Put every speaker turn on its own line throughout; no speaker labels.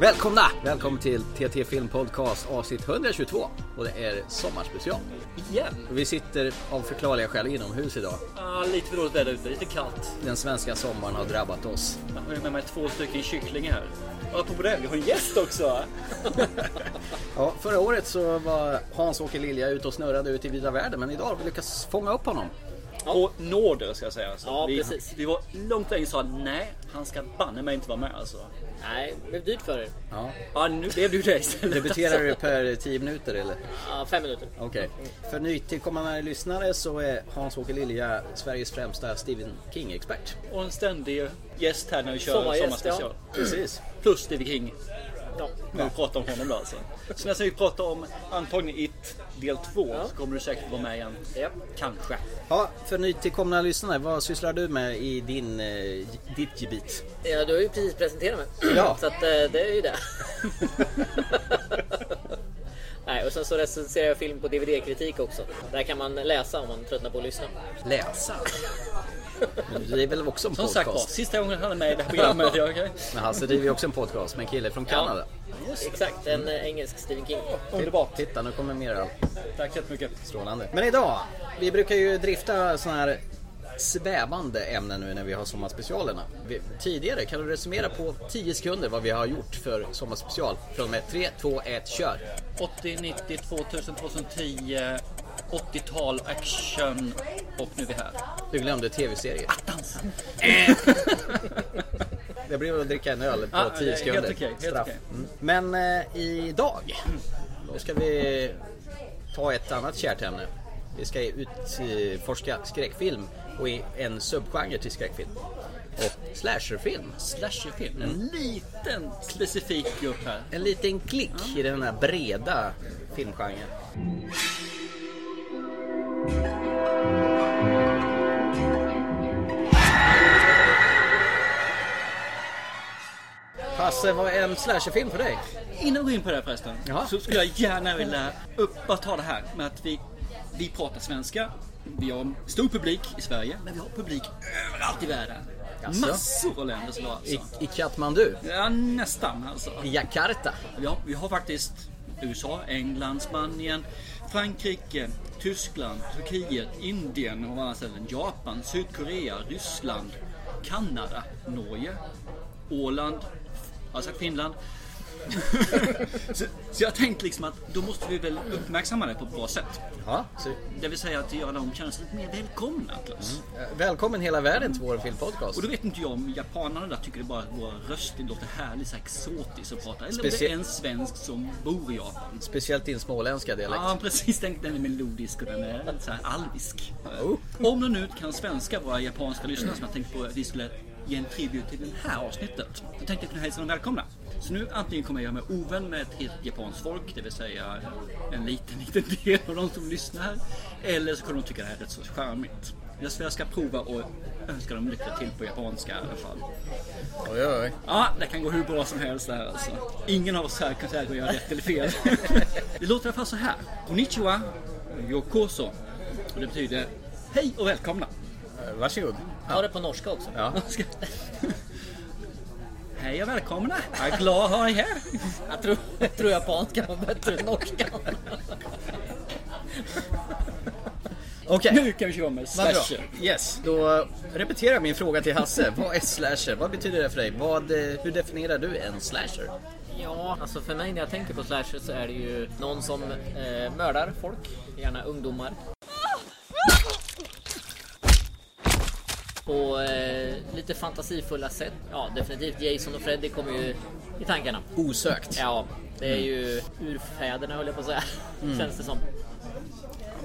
Välkomna! Välkommen till TT Film Podcast avsnitt 122 och det är sommarspecial.
Igen?
Vi sitter av förklarliga skäl inomhus idag.
Ah, lite för dåligt väder ute, lite kallt.
Den svenska sommaren har drabbat oss.
Jag har ju med mig två stycken kycklingar här. Och apropå det, vi har en gäst också!
Ja, förra året så var Hans-Åke Lilja ute och snurrade ut i vida världen men idag har vi lyckats fånga upp honom.
På nåder ska jag säga. Så
Ja,
vi,
precis.
vi var långt länge och sa nej, han ska banne mig inte vara med alltså.
Nej, det blev dyrt för er.
Ja.
Ja, nu blev du det istället.
Debuterar du per 10 minuter eller?
Ja, fem minuter.
Okej. För nytillkommande lyssnare så är Hans-Åke Lilja Sveriges främsta Stephen King-expert.
Och en ständig gäst här när vi kör
Sommargäst,
sommarspecial.
Precis.
Plus Stevie King.
Ja.
Nu pratar om honom då alltså. Så nästa vi pratar om antagligen It del 2 så kommer du säkert vara med igen.
Japp.
Kanske.
Ja, för nytillkomna lyssnare, vad sysslar du med i din, eh, ditt gebit?
ja, du har ju precis presenterat mig.
Ja.
Så att, eh, det är ju det. Nej, och sen så recenserar jag film på DVD-kritik också. Där kan man läsa om man tröttnar på att lyssna.
Läsa. Det är väl också en
Som sagt var,
podcast?
sista gången han är med i det här programmet. ja, okej.
Men Hasse driver ju också en podcast med en kille från Kanada.
Exakt, en eh, engelsk Stephen King.
Underbart.
Titta, nu kommer mer öl.
Tack så jättemycket.
Strålande. Men idag, vi brukar ju drifta sådana här svävande ämnen nu när vi har sommarspecialerna. Vi, tidigare, kan du resumera på 10 sekunder vad vi har gjort för sommarspecial? Från och med 3, 2, 1, kör!
80, 90, 2000, 2010, 80-tal, action och nu är vi här.
Du glömde tv-serier.
Dans!
Det blev att dricka en öl på
Ja,
10
det är
sekunder.
Ah, helt okej, helt
Straff.
okej.
Mm. Men eh, idag, då ska vi ta ett annat kärt ämne. Vi ska utforska skräckfilm och i en subgenre till skräckfilm. Och slasherfilm.
Slasherfilm, en liten specifik grupp här.
En liten klick i den här breda filmgenren. Hasse, vad är en slasherfilm för dig?
Innan vi går in på det här förresten,
Ja.
så skulle jag gärna vilja uppta det här med att vi, vi pratar svenska, vi har en stor publik i Sverige, men vi har publik överallt i världen.
Jaså?
Massor av länder så alltså.
I, i Katmandu?
Ja, nästan alltså.
I Jakarta?
Ja, vi har faktiskt USA, England, Spanien, Frankrike, Tyskland, Turkiet, Indien och andra ställen. Japan, Sydkorea, Ryssland, Kanada, Norge, Åland, alltså Finland. så, så jag tänkte liksom att då måste vi väl uppmärksamma det på ett bra sätt.
Ja, så,
Det vill säga att göra dem känna sig lite mer välkomna till oss.
eh, välkommen hela världen till vår filmpodcast.
Och då vet inte jag om japanerna där tycker det bara att våra röster låter härligt så här exotiskt att prata. Eller om det
Specie-
är en svensk som bor i Japan.
Speciellt din småländska dialekt.
Ja, precis. Den, den är melodisk och den är lite så här alvisk. Om du nu kan svenska, våra japanska lyssnare som jag tänkte på att vi skulle ge en tribut till det här avsnittet. Då tänkte jag kunna hälsa dem välkomna. Så nu antingen kommer jag göra mig ovän med ett helt japanskt folk, det vill säga en liten, liten del av de som lyssnar här. Eller så kommer de tycka det här är rätt så charmigt. Jag ska- jag ska prova och önska dem lycka till på japanska i alla fall.
Oj, oj, oj.
Ja, det kan gå hur bra som helst där alltså. Ingen av oss här kan säga att jag gör rätt eller fel. Det låter i alla fall så här. Konnichiwa, yokoso. Och det betyder hej och välkomna.
Eh, Varsågod.
Ta det på norska också.
Ja.
Hej och välkomna. Jag är glad att ha er här.
Jag tror, jag tror japanska var bättre än norskan.
Okej,
Nu kan vi köra med
vad bra.
slasher.
Yes, då eh, repeterar jag min fråga till Hasse. Vad är slasher? Vad betyder det för dig? Vad, eh, hur definierar du en slasher?
Ja, alltså för mig när jag tänker på slasher så är det ju någon som eh, mördar folk, gärna ungdomar. På eh, lite fantasifulla sätt. Ja, definitivt Jason och Freddy kommer ju i tankarna.
Osökt.
Ja, det är ju urfäderna höll jag på att säga.
Mm.
Känns det som.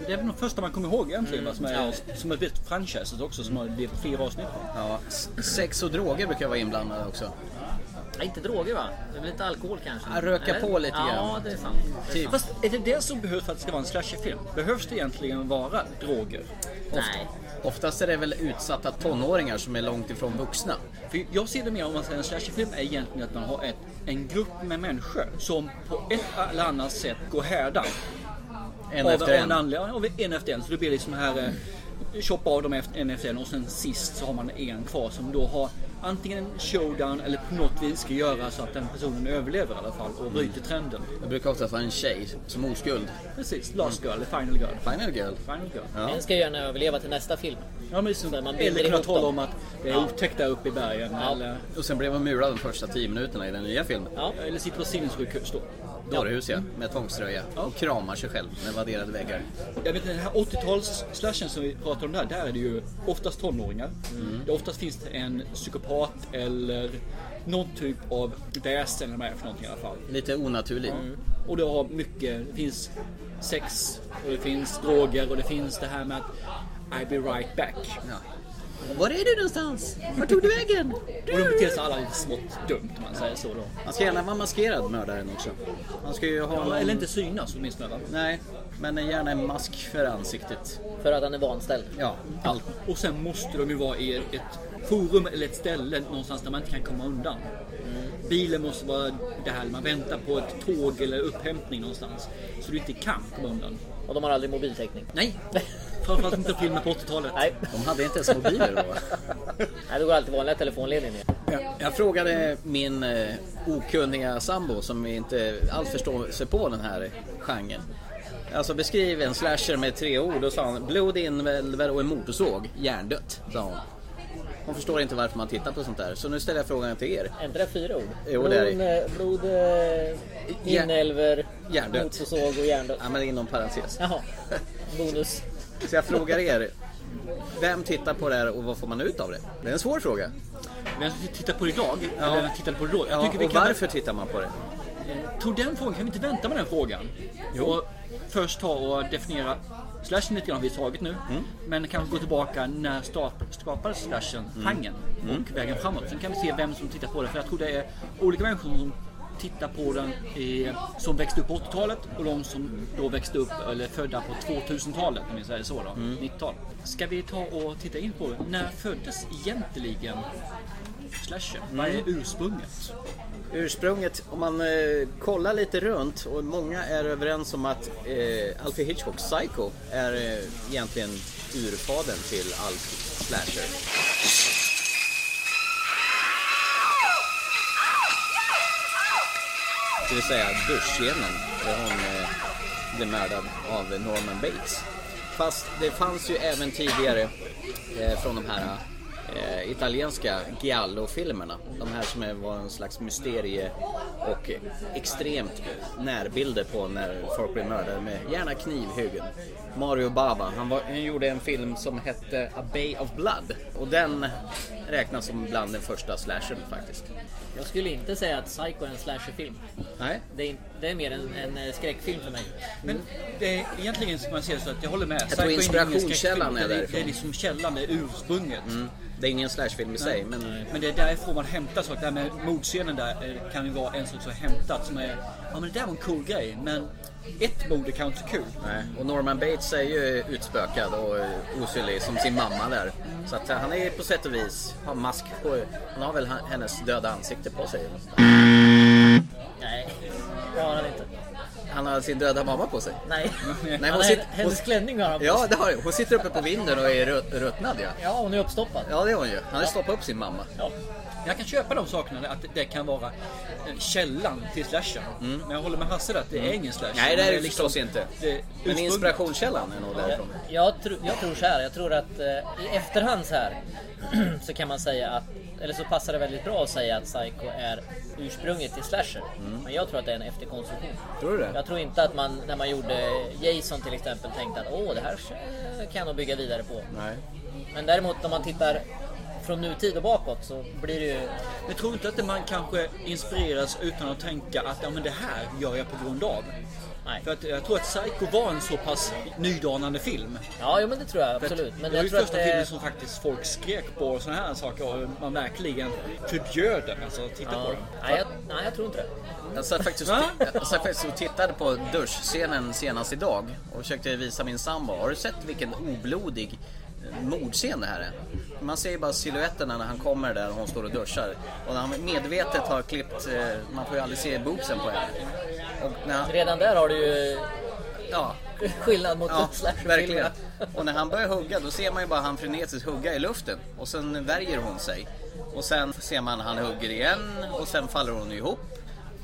Det är väl de första man kommer ihåg egentligen. va, Som, är,
Ja.
som har blivit franchiset också. Som har blivit flera avsnitt.
Ja, s- sex och droger brukar vara inblandade också.
Ja, inte droger va? Det är väl lite alkohol kanske?
Ja, röka
Eller?
på lite
Ja,
grann.
det är sant. Det är
Typ.
sant.
Fast är det det som behövs för att det ska vara en slasherfilm? Behövs det egentligen vara droger?
Nej.
Oftast är det väl utsatta tonåringar som är långt ifrån vuxna.
För jag ser det mer om man säger en slasherfilm är egentligen att man har ett, en grupp med människor som på ett eller annat sätt går härdan.
En
av,
efter
av
en.
anledning- av en efter en. Så det blir liksom här eh, choppa av dem efter, en efter en och sen sist så har man en kvar som då har antingen en showdown eller på något vis ska göra så att den personen överlever i alla fall
Mm.
och bryter trenden.
Det brukar oftast vara en tjej som oskuld.
Precis, Last Girl eller Final Girl.
Final girl.
Final Girl.
Mm. Ja.
Den ska gärna överleva till nästa film.
Ja, men så,
Där man binder
eller kunna
ihop
tala
dem.
om att det är
Ja.
otäckt där uppe i bergen.
Ja.
Eller,
Och sen blev hon murad de första tio minuterna i den nya filmen.
Ja.
eller sitter på sinnessjukhus då.
Dårhus ja, med tvångströja. Och kramar sig själv med vadderade väggar.
Jag vet, den här 80-tals-slashen som vi pratar om där, där är det ju oftast tonåringar. Det oftast finns det en psykopat eller någon typ av väsen eller vad det är för någonting i alla fall.
Lite onaturligt.
Och det har mycket, det finns sex och det finns droger och det finns det här med att I'll be right back.
Ja. Var är du någonstans? Var tog du vägen?
Och de beter sig alla lite smått dumt om man säger så då.
Han ska gärna vara maskerad mördaren också. Han ska ju ha... någon-
Eller inte synas åtminstone. va?
Nej, men gärna en mask för ansiktet.
För att han är vanställd.
Ja, allt.
Och sen måste de ju vara i ett forum eller ett ställe någonstans där man inte kan komma undan. Bilen måste vara det här man väntar på ett tåg eller upphämtning någonstans. Så du inte kan komma undan.
Och de har aldrig mobiltäckning.
Nej! Framförallt inte filmer på 80-talet.
Nej,
De hade inte ens mobiler då.
Nej, det går alltid vanliga telefonledningen ner.
Jag, jag frågade min eh, okunniga sambo som inte alls förstår sig på den här genren. Alltså beskriv en slasher med tre ord och sa han blod, inälvor och en motorsåg. Hjärndött, sa hon. Hon förstår inte varför man tittar på sånt där. Så nu ställer jag frågan till er.
Är inte det fyra ord?
Jo, det är det.
Blod, eh, blod eh,
Ja.
inälvor,
Hjärndött.
motorsåg och hjärndött.
Ja, men inom parentes.
Jaha, bonus.
Så jag frågar er. Vem tittar på det här och vad får man ut av det? Det är en svår fråga.
Men jag tittar på det idag,
Ja.
eller jag tittar på det då. Jag
Ja,
tycker vi
och
kan...
varför tittar man på det?
Tog den frågan, kan vi inte vänta med den frågan? Och först ta och definiera slashen lite grann har vi tagit nu. Men kanske gå tillbaka när start, skapades slashen, genren och vägen framåt. Sen kan vi se vem som tittar på det. För jag tror det är olika människor som tittar på den i, som växte upp på 80-talet och de som då växte upp eller födda på 2000-talet om vi säger så då, 90-talet. Ska vi ta och titta in på när föddes egentligen slashen? Vad är ursprunget?
Ursprunget, om man eh, kollar lite runt och många är överens om att eh, Alfie Hitchcocks Psycho är eh, egentligen urfadern till all slasher. Det vill säga duschscenen där hon eh, blev mördad av Norman Bates. Fast det fanns ju även tidigare eh, från de här eh, italienska Giallo-filmerna. De här som är- var en slags mysterie och eh, extremt närbilder på när folk blev mördade med gärna knivhuggen. Mario Bava, han, var, han gjorde en film som hette A Bay of Blood och den räknas som bland den första slashern faktiskt.
Jag skulle inte säga att Psycho är en slasherfilm.
Nej,
Det är, in- det är mer en, en eh, skräckfilm för mig.
Men det är egentligen ska man säga så att jag håller med.
tror
Psycho är ingen
inspirationskällan
skräckfilm,
är
det är
därifrån. Mm.
Det är liksom källan, det är ursprunget.
det är ingen slashfilm i sig men
Men det är därifrån man hämtar saker. Det här med mordscenen där eh, kan ju vara en sak som är hämtat som är, ja men det där var en cool grej. Men ett mord är kanske inte så kul.
Nej. Och Norman Bates är ju utspökad och eh, osynlig som sin mamma där. Så att eh, han är på sätt och vis, har mask på, han har väl h- hennes döda ansikte på sig.
Nej, det har han inte.
Han har sin döda mamma på sig.
Nej,
Nej,
han
hon
har,
sitter-
hennes
hon-
klänning har han på
Ja,
sig.
det har jag. Hon sitter uppe på vinden och är rut- ruttnad ja.
Ja, hon är uppstoppad.
Ja, det är hon ju. Han har stoppat upp sin mamma.
Ja.
Jag kan köpa de sakerna, att det kan vara eh, källan till slashen. Men jag håller med Hasse där att det är ingen slasher.
Mm. Nej, det är
Men
Liksom- det förstås inte.
det är
Men
ursprunget.
inspirationskällan är nog därifrån.
Jag, tro, jag tror så här, jag tror att eh, i efterhand så här så kan man säga att, eller så passar det väldigt bra att säga att Psycho är ursprunget till slasher.
Mm.
Men jag tror att det är en efterkonstruktion.
Tror du det?
Jag tror inte att man när man gjorde Jason till exempel tänkte att åh det här kan jag nog bygga vidare på.
Nej.
Men däremot om man tittar från nutid och bakåt så blir det ju
Men tror inte att man kanske inspireras utan att tänka att ja, men det här gör jag på grund av.
Nej.
För att jag tror att Psycho var en så pass nydanande film.
Ja, jo, men det tror jag
För att
absolut. Men
det var
jag
ju
tror att
första filmen
det...
som faktiskt folk skrek på och sådana här saker och man verkligen förbjöd den. Alltså att titta på
Ja.
den.
Nej, jag, nej, jag tror inte det.
Jag satt faktiskt,
Va?
jag satt faktiskt och tittade på duschscenen senast idag och försökte visa min sambo. Har du sett vilken oblodig eh, mordscen det här är? Man ser ju bara silhuetterna när han kommer där och hon står och duschar. Och när han medvetet har klippt, eh, man får ju aldrig se boobsen på henne. Och när han,
Redan där har du ju
ja,
skillnad mot
Ja, verkligen.
slasherfilmerna.
Och när han börjar hugga då ser man ju bara han frenetiskt hugga i luften och sen värjer hon sig. Och sen ser man han hugger igen och sen faller hon ihop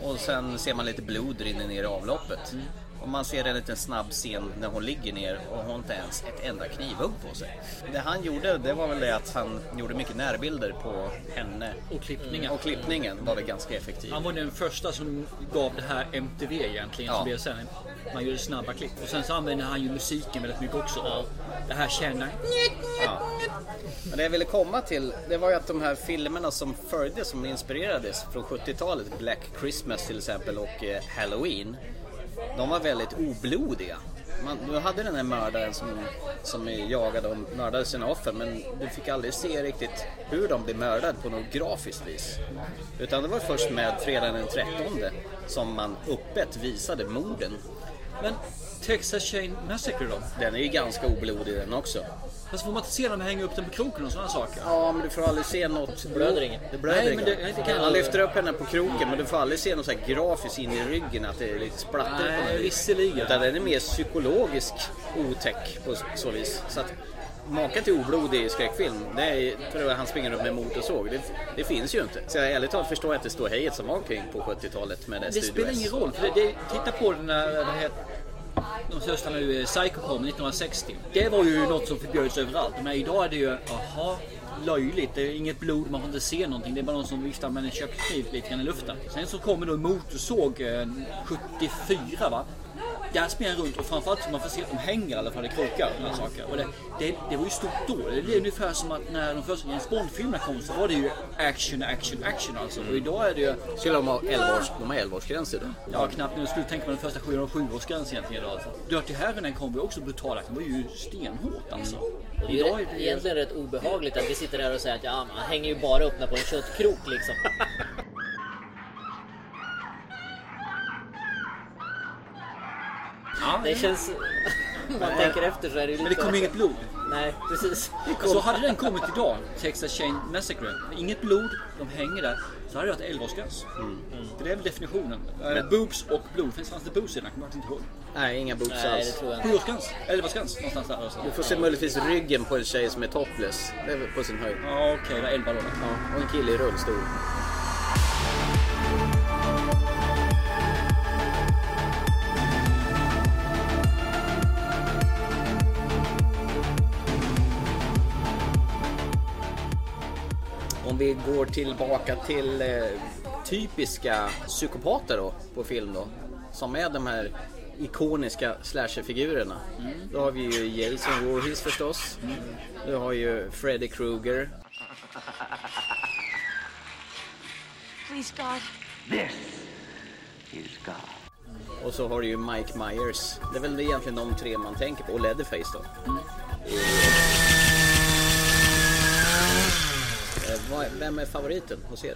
och sen ser man lite blod rinna ner i avloppet.
Mm.
Och man ser en liten snabb scen när hon ligger ner och hon har inte ens ett enda knivhugg på sig. Det han gjorde det var väl det att han gjorde mycket närbilder på henne.
Och klippningar.
Och klippningen var väl ganska effektiv.
Han var den första som gav det här MTV egentligen.
Ja.
Som blev sen. Man gjorde snabba klipp. Och sen så använde han ju musiken väldigt mycket också. Och det här känner
Ja. Men det jag ville komma till, det var ju att de här filmerna som följde, som inspirerades från 70-talet, Black Christmas till exempel och eh, Halloween, de var väldigt oblodiga. Man, du hade den här mördaren som, som jagade och mördade sina offer men du fick aldrig se riktigt hur de blev mördade på något grafiskt vis. Utan det var först med fredagen den 13 som man öppet visade morden.
Men Texas Chain Massacre då?
Den är ju ganska oblodig den också.
Fast får man inte se dem hänga upp den på kroken och sådana saker?
Ja, men du får aldrig se något. Det
blöder inget.
Det blöder
Nej, men
inget.
det- nej, det kan
Han
jag-
lyfter upp henne på kroken, men du får aldrig se något så här grafiskt in i ryggen, att det är lite splatter på något
Nej,
vis.
visserligen.
Utan den är mer psykologisk otäck på så vis. Så att maken till oblod i skräckfilm, det är för att han springer upp med motorsåg. Det, det finns ju inte. Så jag, ärligt talat förstår jag inte ståhejet som var omkring på 70-talet med det
Det spelar ingen roll. För det, det, titta på den här, vad heter de största nu, eh, Psycho-kom 1960. Det var ju något som förbjöds överallt. Men idag är det ju, aha, löjligt. Det är inget blod, man får inte se någonting. Det är bara någon som viftar med en kökskniv lite grann i luften. Sen så kommer då en motorsåg eh, 74 va. Där springer han runt och framförallt så man får se att de hänger i alla fall i krokar. Och sådana saker. Och det, det, det var ju stort då. Det är ungefär som att när de första James Bond-filmerna kom så var det ju action, action, action alltså. Och idag är det ju
Skulle de ha 11 års, de har 11-årsgräns idag?
Ja, knappt. Nu skulle du tänka på den första sju och sjuårsgränsen egentligen idag. Alltså. Dirty Harry den kom ju också brutala. Den var ju stenhårt alltså.
Och Det
Idag
är
är
ju
det ju...
Mm. egentligen rätt obehagligt att vi sitter där och säger att ja, man hänger ju bara upp den på en köttkrok liksom.
Ja,
Det känns... Om man tänker efter så är det ju lite...
Men det kom inget blod.
Nej, precis.
Så hade den kommit idag, Texas Chain Massacre, med inget blod, de hänger där, så hade det varit 11-årsgräns.
Mm.
För det är väl definitionen. Eh, boobs och blod. Finns fanns det boobs i den? Jag kommer faktiskt inte ihåg.
Nej, inga boots
Nej, det
alls.
tror jag inte.
7-årsgräns? 11-årsgräns någonstans där. Alltså.
Du får se möjligtvis ryggen på en tjej som är topless. Det är väl på sin höjd.
Ja, okej, det var 11 då.
Ja, och en kille i rullstol. Om vi går tillbaka till eh, typiska psykopater då, på film då. Som är de här ikoniska slasherfigurerna. Då har vi ju Jason Voorhees förstås. Du har ju Freddy Krueger.
Please, God.
This is God.
Och så har du ju Mike Myers. Det är väl egentligen de tre man tänker på. Och Leatherface då. Eh, vad- Vem är favoriten hos er?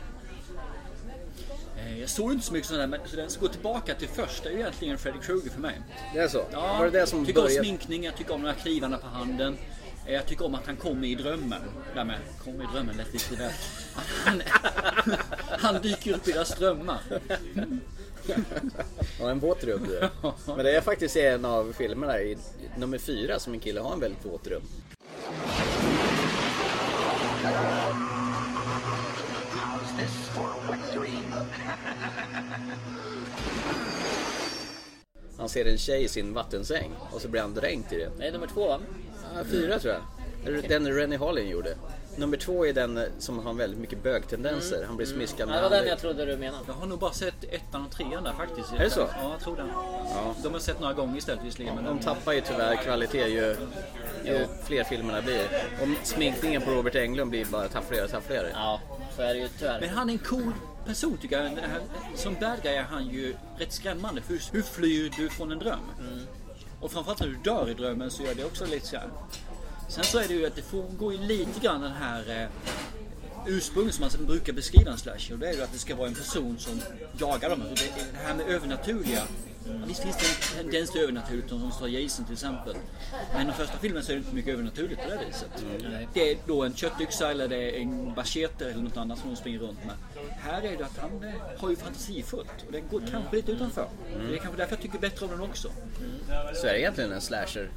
Eh, Jag såg inte så mycket sådana där, men så den som går tillbaka till första är ju egentligen Freddy Krueger för mig.
Det är så?
Ja,
Var det det som
tycker om
började?
sminkning, jag tycker om de här knivarna på handen. Eh, Jag tycker om att han kommer i drömmen. Därmed, kommer i drömmen lät lite väl. Att Han, han dyker upp i deras drömmar.
Ja, en våt rum du är. Men det är faktiskt en av filmerna i nummer fyra som en kille har en väldigt våt rum.
How's this for a wet dream?
Han ser en tjej i sin vattensäng och så blir han dränkt i det.
Nej, nummer två va?
Ja, Fyra tror jag. Eller Den Rennie Harlin gjorde. Nummer två är den som har väldigt mycket bögtendenser. Han blir smiskad
Mm. Ja, det
med
var den
handen.
jag trodde du menade.
Jag har nog bara sett ettan och trean där faktiskt.
Är det så?
Ja, jag tror det.
Ja.
De har jag sett några gånger istället visserligen. Men
De
de,
tappar ju tyvärr kvalitet ju, ju fler filmerna blir. Och sminkningen på Robert Englund blir bara taffligare och taffligare.
Ja, så är det ju tyvärr.
men han är en cool person tycker jag. Den här, som bad guy är han ju rätt skrämmande. För hur flyr du från en dröm? Och framförallt när du dör i drömmen så gör det också lite så här. Sen så är det ju att det går ju lite grann den här eh, ursprunget som man brukar beskriva en slasher. Och det är ju att det ska vara en person som jagar dem. Och det, det här med övernaturliga Visst finns det en tendens till övernaturligt som står Jason till exempel. Men den första filmen så är det inte mycket övernaturligt på det viset. Det är då en köttyxa eller det är en bacheter eller något annat som de springer runt med. Här är det att han eh, har ju fantasifullt och det går kanske lite utanför. Det är kanske därför jag tycker bättre om den också.
Så är det egentligen en slasher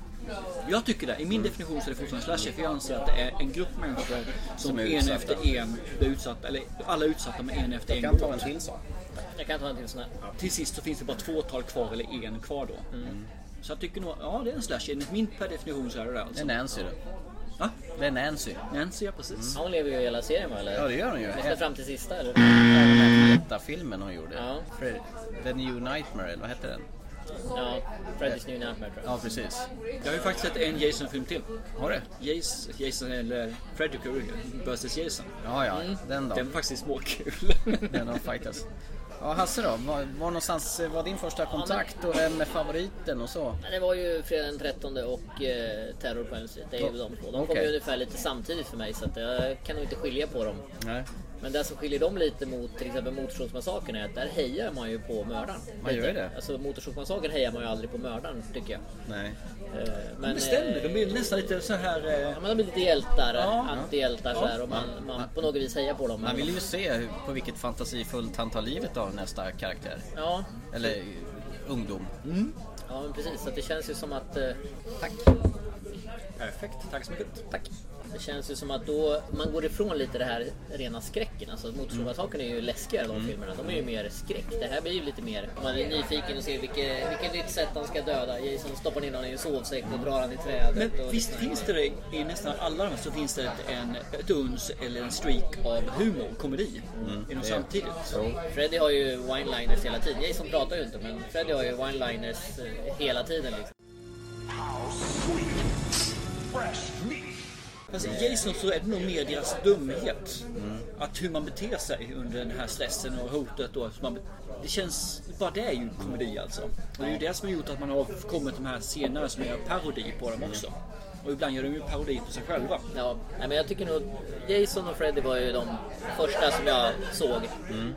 Jag tycker det. I min definition så är det fortfarande slasher. För jag anser att det är en grupp människor som,
Som är
en
utsatta.
efter en blir utsatta. Eller alla är utsatta men en efter en
kan
går
ta en
åt.
till sån.
Jag kan ta en till sån här.
Till sist så finns det bara två tal kvar eller en kvar då.
Mm.
Så jag tycker nog, ja det är en slasher. Enligt min per definition så är det det
Det
alltså.
är Nancy då.
Va?
Det är Nancy.
Nancy ja precis.
Mm.
Ja, Hon lever ju hela serien va? Eller?
Ja det gör hon ju.
Nästan
Efter
fram till sista eller?
den här filmen hon gjorde.
Ja.
Fred- The New Nightmare eller vad hette den?
Ja, Freddy's New Nightmare tror jag.
Ja precis.
Jag har ju faktiskt sett en Jason-film till.
Har du?
Jason, Jason eller Freddy Krueger vs Jason.
Ja ja, den då.
Den var faktiskt småkul.
Den har fightas. Ja Hasse då, var, var någonstans eh, var din första kontakt och vem är favoriten och så?
Men Det var ju fredag den 13 och eh, Terror på Elm Street. Det är ju de två. De kom
Okej.
ju ungefär lite samtidigt för mig så att jag kan nog inte skilja på dem.
Nej.
Men det som skiljer dem lite mot till exempel Motorsågsmassakern är att där hejar man ju på mördaren.
Man gör
Lite.
ju det.
Alltså Motorsågsmassakern hejar man ju aldrig på mördaren tycker jag.
Nej.
Eh, Men,
Bestämmer,
eh,
de blir nästan lite så här... Eh,
Ja, men de blir lite hjältar,
Ja.
antihjältar så här, och man, man på något vis hejar på dem.
Man vill ju se hur, på vilket fantasifullt han tar livet av nästa karaktär.
Ja,
Eller eh, ungdom.
ja men precis. Så att det känns ju som att eh,
perfekt, tack så mycket. Tack.
Det känns ju som att då man går ifrån lite det här rena skräcken. Alltså Motorsågsmassakern är ju läskigare
Mm.
de filmerna. De är ju mer skräck. Det här blir ju lite mer... Man är nyfiken och ser vilket, vilket nytt sätt han ska döda. Jason stoppar in honom i en sovsäck och drar han i trädet.
Men
och
visst
liknande.
finns det det i nästan alla de här så finns det ett, en, ett uns eller en streak av humor och komedi i dem samtidigt.
Freddy har ju one-liners hela tiden. Jason pratar ju inte men Freddy har ju one-liners eh, hela tiden liksom.
How sweet. Fresh meat.
Fast i Jason så är det nog mer deras dumhet. Att hur man beter sig under den här stressen och hotet. Och att man, det känns, bara det är ju komedi alltså. Och det är ju det som har gjort att man har kommit de här senare som gör parodi på dem också. Och ibland gör de ju parodi på sig själva.
Ja, nej, men jag tycker nog Jason och Freddy var ju de första som jag såg.
Mm.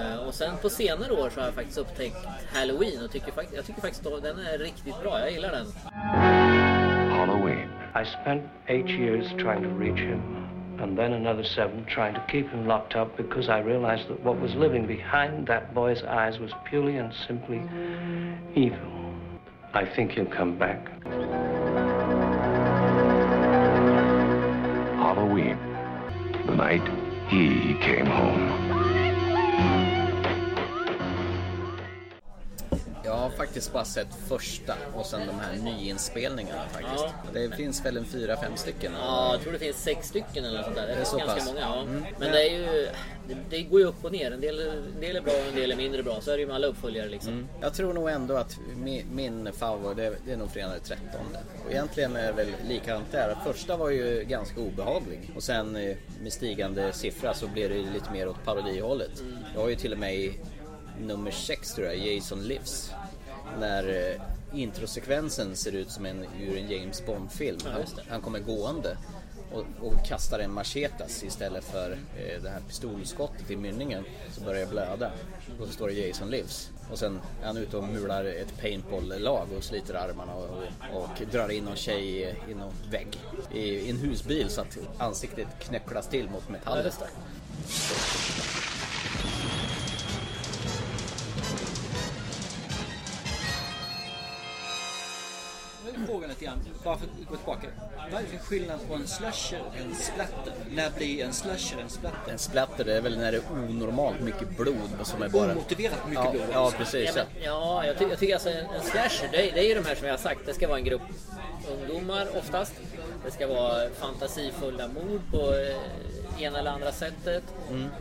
Eh, och sen på senare år så har jag faktiskt upptäckt Halloween och tycker, fakt- jag tycker faktiskt att den är riktigt bra. Jag gillar den.
Halloween. I spent eight years trying to reach him, and then another seven trying to keep him locked up because I realized that what was living behind that boy's eyes was purely and simply evil. I think he'll come back.
Halloween, the night he came home.
Jag har faktiskt bara sett första och sen de här nyinspelningarna faktiskt.
Ja.
Det finns väl en fyra, fem stycken.
Ja, jag tror det finns sex stycken eller något sånt där. Det
är
finns
så
ganska
pass. Mm.
många. Ja. Men det är ju... Det, det går ju upp och ner. En del, en del är bra och en del är mindre bra. Så är det ju med alla uppföljare liksom.
Jag tror nog ändå att mi- min favorit, det, det är nog Fredag den 13. Och egentligen är det väl likadant där. Första var ju ganska obehaglig och sen eh, med stigande siffra så blir det ju lite mer åt parodihållet. Jag har ju till och med i nummer 6 tror jag, Jason Lives. När eh, introsekvensen ser ut som en, ur en James Bond-film. Han,
just det.
han kommer gående och, och kastar en machetas istället för eh, det här pistolskottet i mynningen så börjar jag blöda. Och så står det Jason Lives. Och sen är han ute och mular ett paintball-lag och sliter armarna och, och, och drar in någon tjej i, i någon vägg. I, I en husbil så att ansiktet knöcklas till mot metallen.
Nu är frågan lite grann, bara för att gå tillbaka. Vad är det för skillnad på en slasher och en splatter? När blir en slasher en splatter?
En splatter det är väl när det är onormalt mycket blod som är bara...
Omotiverat mycket
ja,
blod alltså.
Ja,
också.
precis.
Ja, men, ja jag, ty- jag tycker alltså en, en slasher, det, är- det är ju de här som jag har sagt. Det ska vara en grupp ungdomar oftast. Det ska vara fantasifulla mord på eh, ena eller andra sättet.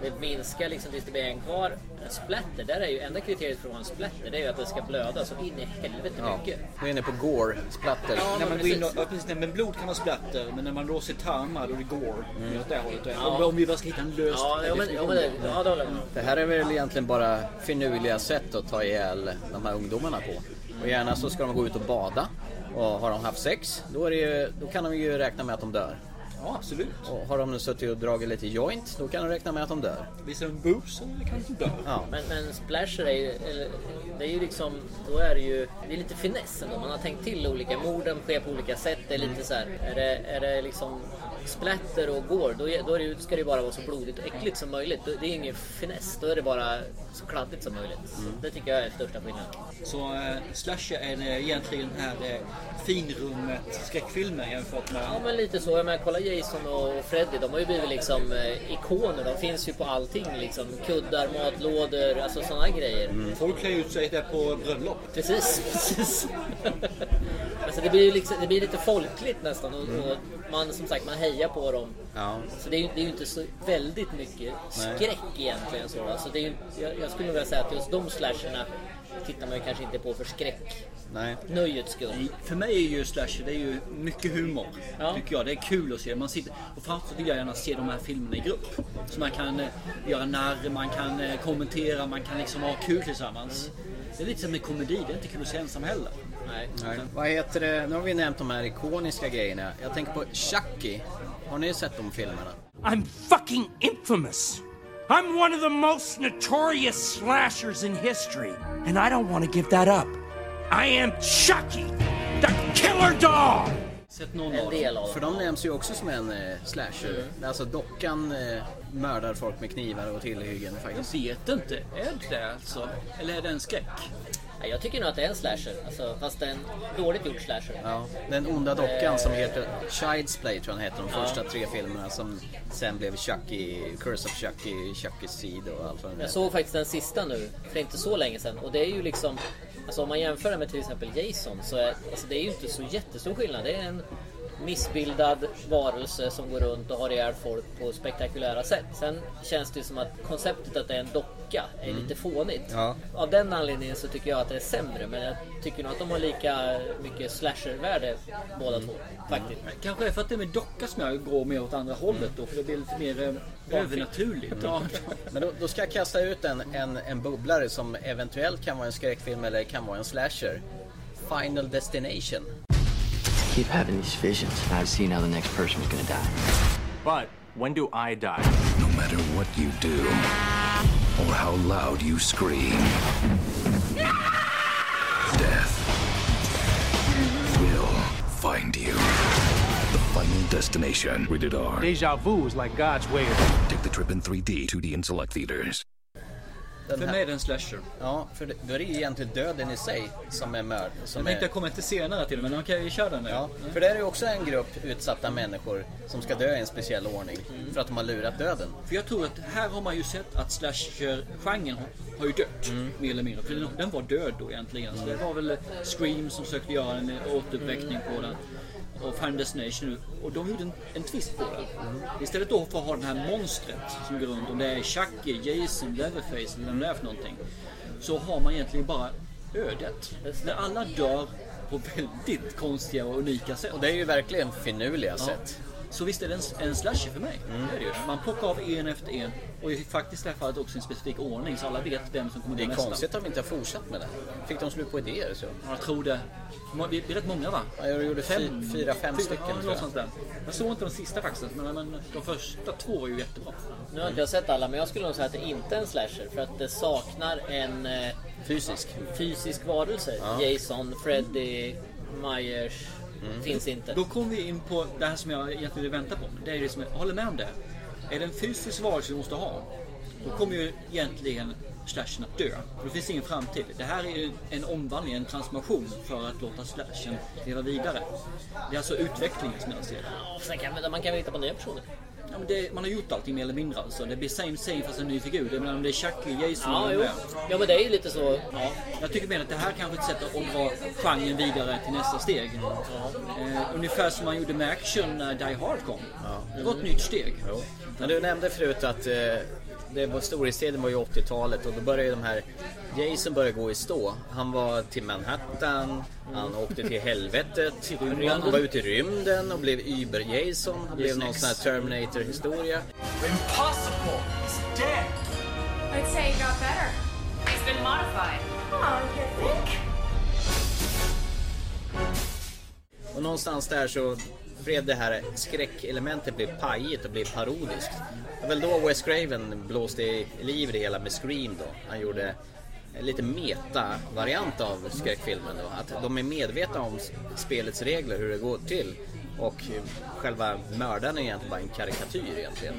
Det minskar liksom tills det blir en kvar. En splatter, där är ju enda kriteriet för att vara en splatter, det är ju att det ska blöda så in i helvete
Ja.
mycket.
Nu är jag inne på gore-splatter.
Ja,
När
men
man går in och,
precis.
ja, precis, nej, men blod kan vara splatter, men när man då ser tarmar då är det går. Mm. Åt det hållet. då är-
Ja.
Om, om vi bara ska hitta en lös
Ja, ja, men, ja, men det, ja, det håller jag med om.
Det här är väl egentligen bara finurliga sätt att ta ihjäl de här ungdomarna på. Och gärna så ska de gå ut och bada och har de haft sex, då, är det ju, då kan de ju räkna med att de dör.
Ja, absolut.
Och har de nu suttit och dragit lite joint, då kan de räkna med att de dör.
Visar de boobs så är det kanske dö.
Ja.
Men, men splasher är ju, eller, det är ju liksom, då är det ju, det är lite finess ändå. Man har tänkt till olika, morden sker på olika sätt. Det är lite så här, är det, är det liksom splatter och går, då, är, då är det, ju- ska det ju bara vara så blodigt och äckligt som möjligt. Då- Det är ingen finess, då är det bara så kladdigt som möjligt. Så Det tycker jag är största skillnaden.
Så eh, slasher är det egentligen den här eh, finrummet skräckfilmen jämfört med...
Ja men lite så. Jag menar, kolla Jason och Freddy. De har ju blivit liksom eh, ikoner. De finns ju på allting. Liksom. Kuddar, matlådor, alltså sådana grejer.
Folk klär ut sig där på bröllop.
Precis, precis. alltså, det, blir ju liksom, det blir lite folkligt nästan. Och,
Mm.
och man, som sagt, man hejar på dem.
Ja.
Så det är, ju- det är ju inte så väldigt mycket skräck egentligen. Så, va? så det är, ju- jag, jag skulle nog vilja säga att just de slasherna tittar man ju kanske inte på för skräcknöjets
Nej.
skull.
För mig är ju slasher det är ju mycket humor.
Ja.
Tycker jag. Det är kul att se. Man sitter, och framförallt vill jag gärna se de här filmerna i grupp. Så man kan eh, göra narr, man kan eh, kommentera, man kan liksom ha kul tillsammans. Det är lite som med komedi. Det är inte kul att se ensam heller.
Nej.
Nej. Vad heter det? Nu har vi nämnt de här ikoniska grejerna. Jag tänker på Chucky. Har ni sett de filmerna?
I'm fucking infamous. I'm one of the most notorious slashers in history, and I don't want to give that up. I am Chucky, the killer dog.
Sett någon
En
av dem.
del av
För
dem.
de nämns ju också som en eh, slasher. Alltså dockan eh, mördar folk med knivar och tillhyggen faktiskt.
Jag vet inte. Är det alltså? Eller är det en skräck?
Nej, Jag tycker nog att det är en slasher. Alltså, fast en dåligt gjord slasher.
Ja, den onda dockan som heter Child's Play tror jag den heter, de första tre filmerna som sen blev Chucky, Curse of Chucky, Chucky Seed och allt vad det
Jag
heter.
såg faktiskt den sista nu för inte så länge sedan och det är ju liksom Alltså om man jämför den med till exempel Jason så är alltså det är ju inte så jättestor skillnad. Det är en missbildad varelse som går runt och har ihjäl folk på spektakulära sätt. Sen känns det ju som att konceptet att det är en docka är lite fånigt.
Ja.
Av den anledningen så tycker jag att det är sämre men jag tycker nog att de har lika mycket slasher-värde båda två. Faktiskt.
Kanske är för att det är med docka som jag går mer åt andra hållet då. För det blir lite mer eh, övernaturligt. Ja.
Men då, då ska jag kasta ut en, en, en bubblare som eventuellt kan vara en skräckfilm eller kan vara en slasher. Final Destination.
keep having these visions. I've seen how the next person's gonna die.
But when do I die?
No matter what you do or how loud you scream, death will find you. The final destination. Rated R.
Deja vu is like God's way of
Take the trip in 3D, 2D, and select theaters.
Den
För
här-
mig är det en slasher.
Ja, för det- då är det ju egentligen döden i sig som är mörd.
Jag
Som
tänkte
är,
jag kommer till senare till men okej vi kör den nu.
ja, för det är ju också en grupp utsatta människor som ska dö i en speciell ordning
Mm.
för att de har lurat döden.
För jag tror att här har man ju sett att slasher-genren har- har ju dött.
Mm.
Mer eller mindre. För den, den var död då egentligen. Så det var väl Scream som försökte göra en återuppväckning på den. Och Final Destination nu. Och de gjorde en, en twist på den.
Mm.
Istället då för att ha det här monstret som går runt. Om det är Chucky, Jason, Leatherface eller vem det är för någonting. Så har man egentligen bara ödet. När alla dör på väldigt konstiga och unika sätt.
Och det är ju verkligen finurliga
Ja.
sätt.
Så visst är det en, en slasher för mig.
Mm.
Det är det ju. Man plockar av en efter en. Och i faktiskt i det här fallet också i en specifik ordning så alla vet vem som kommer
Det
dö
är
nästa.
konstigt att de inte har fortsatt med det. Fick de slut på idéer så?
Ja, Jag tror det. Ma- Det det är rätt många va?
Ja, jag gjorde fy- fyra, fem stycken,
Ja,
tror jag.
någonstans där. Jag såg inte de sista faktiskt. Men, men de första två var ju jättebra.
Nu har inte jag sett alla men jag skulle nog säga att det inte är en slasher för att det saknar en eh,
Fysisk.
fysisk varelse. Jason, Freddy, Myers
Mm.
finns inte.
Då kom vi in på det här som jag egentligen vill vänta på. Men Det är det som jag jag håller med om det. Är det en fysisk varelse vi måste ha. Då kommer ju egentligen slashen att dö. För det finns ingen framtid. Det här är ju en omvandling, en transformation för att låta slashen leva vidare. Det är alltså utvecklingen som jag ser det.
Sen kan, man- man kan väl hitta på nya personer.
Ja, men det. Man har gjort allting mer eller mindre alltså. Det blir same same fast en ny figur. Jag menar om det är Chucky, Jason
Ja,
eller
Mm,
jo.
vem.
ja men det är ju lite så.
Ja, jag tycker mer att det här kanske är ett sätt att dra genren vidare till nästa steg. Eh, ungefär som man gjorde med action när Die Hard kom. Det var ett nytt steg.
Men du nämnde förut att eh, det var storhetstiden var ju 80-talet och då började ju de här Jason började gå i stå. Han var till Manhattan, han åkte till helvetet,
rymden.
han var ute i rymden och blev Uber-Jason. Han blev
Jason
någon
X.
sån här Terminator-historia.
impossible. It's dead.
I'd say it got better. It's been modified. Oh, you think?
Och någonstans där så blev det här skräckelementet blev pajigt och blev parodiskt. Det var väl då Wes Craven blåste i liv i det hela med Scream då. Han gjorde en lite meta-variant av skräckfilmen då. Att de är medvetna om s- spelets regler, hur det går till. Och själva mördaren är egentligen bara en karikatyr egentligen.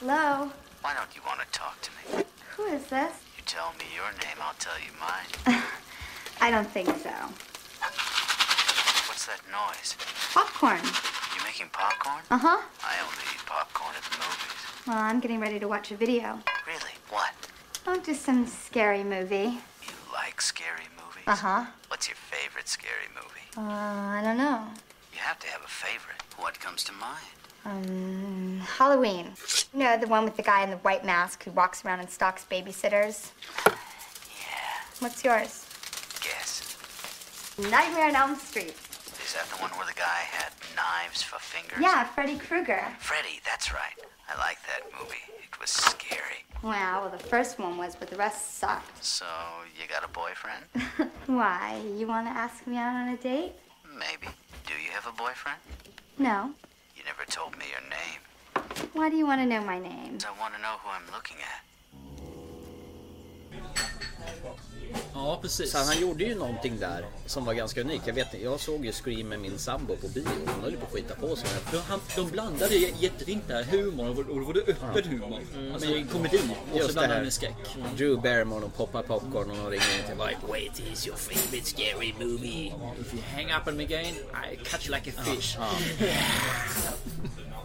Hello?
Why don't you want to talk to me?
Who is this?
You tell me your name, I'll tell you mine.
I don't think so.
What's that noise?
Popcorn.
You making popcorn?
Uh huh.
I only eat popcorn at the movies.
Well, I'm getting ready to watch a video.
Really? What?
Oh, just some scary movie.
You like scary movies?
Uh huh.
What's your favorite scary movie?
Uh, I don't know.
You have to have a favorite. What comes to mind?
Um, Halloween. You know, the one with the guy in the white mask who walks around and stalks babysitters? Yeah. What's yours?
Guess.
Nightmare on Elm Street.
Is that the one where the guy had knives for fingers?
Yeah, Freddy Krueger.
Freddy, that's right. I like that movie. It was scary.
Wow, well, the first one was, but the rest sucked.
So, you got a boyfriend?
Why? You want to ask me out on a date?
Maybe. Do you have a boyfriend?
No.
You never told me your name.
Why do you want to know my name?
I want to know who I'm looking at.
Ja, precis.
Så han gjorde ju någonting där som var ganska unikt. Jag, vet, jag såg ju Scream med min sambo på bio. Hon höll ju på att skita på sig.
De, han, de blandade ju jättefint där, humor och, och det var det öppen humor. Alltså en komedi och så
Just det
blandade
här.
med skräck.
Drew Barrymore och poppar popcorn och de ringer in till Mike. Wait, is your favorite scary movie?
If you hang up on me again, I catch you like a fish.
Ja.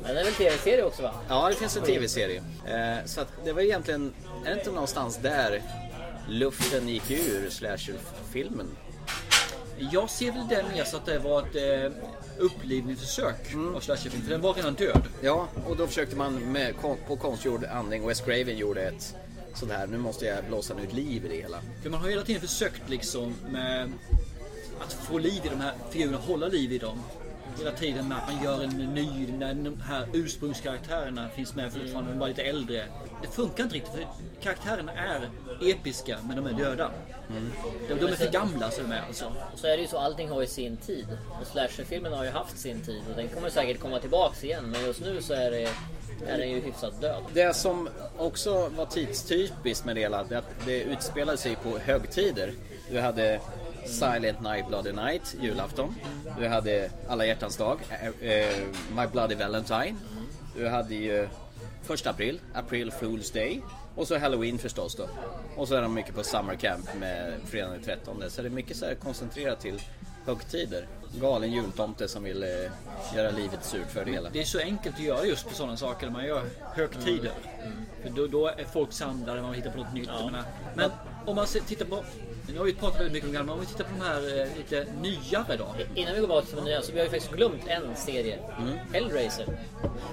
Men det är väl tv-serie också va?
Ja, det finns en tv-serie. Eh, så att det var egentligen, är det inte någonstans där luften gick ur slasherfilmen?
Jag ser väl det mer så att det var ett eh, upplivningsförsök av slasherfilm, för den var redan död.
Ja, och då försökte man med, kon- på konstgjord andning, Wes Craven gjorde ett sånt här, nu måste jag blåsa nytt liv i det hela.
För man har ju hela tiden försökt liksom med att få liv i de här figurerna, hålla liv i dem. Hela tiden med att man gör en ny, när de här ursprungskaraktärerna finns med fortfarande, de bara lite äldre. Det funkar inte riktigt för karaktärerna är episka men de är döda. De, de är för gamla så de är alltså.
Och så är det ju så, allting har ju sin tid. Och slasherfilmen har ju haft sin tid och den kommer säkert komma tillbaks igen. Men just nu så är, det, är den ju hyfsat död.
Det som också var tidstypiskt med det hela, det, att det utspelade sig på högtider. Du hade Silent Night, Bloody Night, julafton. Du hade Alla hjärtans dag, eh, eh, My Bloody Valentine. Du hade ju första april, April Fool's Day. Och så Halloween förstås då. Och så är de mycket på Summer Camp med fredagen den 13. Så det är mycket så här koncentrerat till högtider. Galen jultomte som vill eh, göra livet surt för det hela.
Det är så enkelt att göra just på sådana saker när man gör högtider. För då, då är folk samlade, man hittar på något nytt. jag menar. Men om man ser- tittar på, nu har vi pratat väldigt mycket om gamla, om vi tittar på de här eh, lite nyare då.
Innan vi går bort till de nya så vi har ju faktiskt glömt en serie. Hellraiser.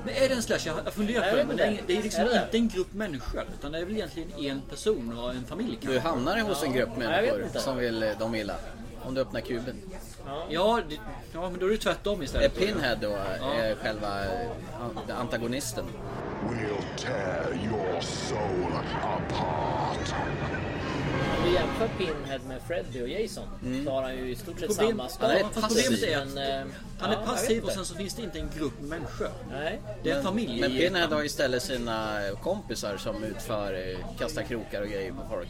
Men är det en slasher? Jag har funderat
Nej,
på det,
det
men
är
det är,
inte.
det är liksom
Är det?
inte en grupp människor. Utan det är väl egentligen en person och en familj kanske.
Du hamnar hos en grupp
Jag
människor
vet inte.
som vill eh, de illa. Om du öppnar kuben.
Ja, det, ja, men då är det tvärtom
Är
istället.
Pinhead då
Ja.
är själva eh, an- antagonisten?
We'll tear your soul apart.
Om du jämför Pinhead med Freddy och Jason så har han ju i stort sett
Problem-
samma skala.
Ja, fast problemet är att
Men, eh,
Han
ja,
är
jag
passiv
vet
och
inte.
sen så finns det inte en grupp människor.
Nej.
Det är en familj.
Men
i ett
Pinhead
namn.
har istället sina eh, kompisar som utför, eh, kastar krokar och grejer på folk.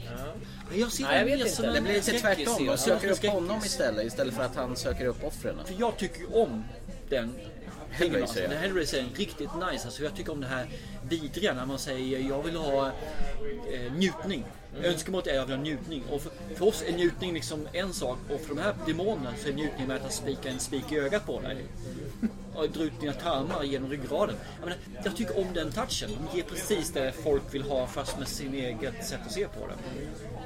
Men jag ser
Nej, jag
det
vet
mer
inte.
som en
Det blir lite
skräckis
tvärtom.
serie.
De söker
Ja,
upp honom
skräckis.
istället istället för att han söker upp offren.
För jag tycker ju om den filmen. Alltså,
ja.
den Hellraiser är riktigt nice. Alltså, jag tycker om det här vidriga när man säger jag vill ha eh, njutning. Önskemålet är jag vill ha njutning. Och för, för oss är njutning liksom en sak och för de här demonerna så är njutning med att spika en spik i ögat på dig. Och dra ut dina tarmar genom ryggraden. Jag, menar, jag tycker om den touchen. De ger precis det folk vill ha fast med sin eget sätt att se på det.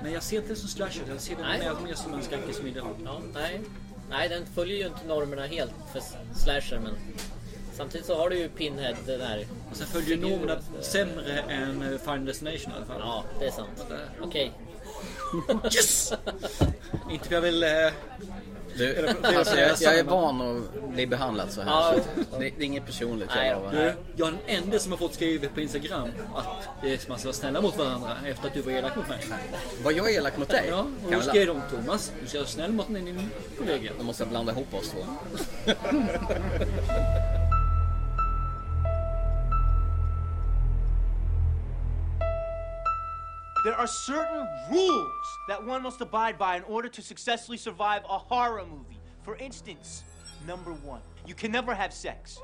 Men jag ser inte det som slasher. Jag ser det
Nej.
mer- mer som en skräckismiddag.
Ja, nej. nej, den följer ju inte normerna helt för slasher. Men samtidigt så har du ju Pinhead den här.
Och sen följer normerna sämre än eh, Final Destination i alla fall.
Ja, det är sant. Okej.
Yes! Inte för jag vill... eh,
Du,
eller- eller-
alltså, jag, jag är
samma-
van att bli behandlad så här.
Ja.
Så det, det är inget personligt.
Nej,
jag,
du, jag är den enda som har fått skrivet på Instagram att det är som att man ska vara snälla mot varandra efter att du var elak mot mig.
Var jag elak mot dig?
Ja, och då
Kamilla?
skrev de Thomas, du ska vara snäll mot din kollega.
Då måste jag blanda ihop oss två.
There are certain rules that one must abide by in order to successfully survive a horror movie. For instance, number one, you can never have sex.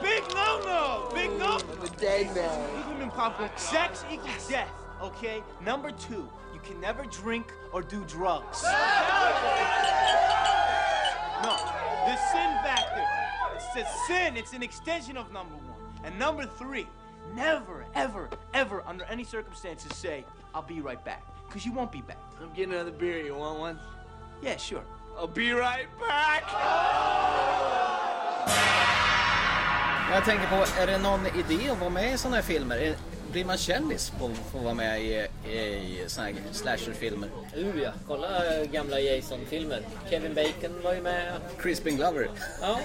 Big no no! Big no! The dead man. Human popcorn. Sex equals death, okay? Number two, you can never drink or do drugs. No, the sin factor. It's a sin, it's an extension of number one. And number three, never, ever, ever, under any circumstances, say, I'll be right back. Because you won't be back. I'm getting another beer. You want one? Yeah, sure. I'll be right back.
Jag tänker på, är det någon idé att vara med i sådana här filmer? Är- Blir man kändis på att få vara med i, i sådana här slasherfilmer?
Uh, ja. Kolla eh, gamla Jason-filmer. Kevin Bacon var ju med.
Crispin Glover.
Ja.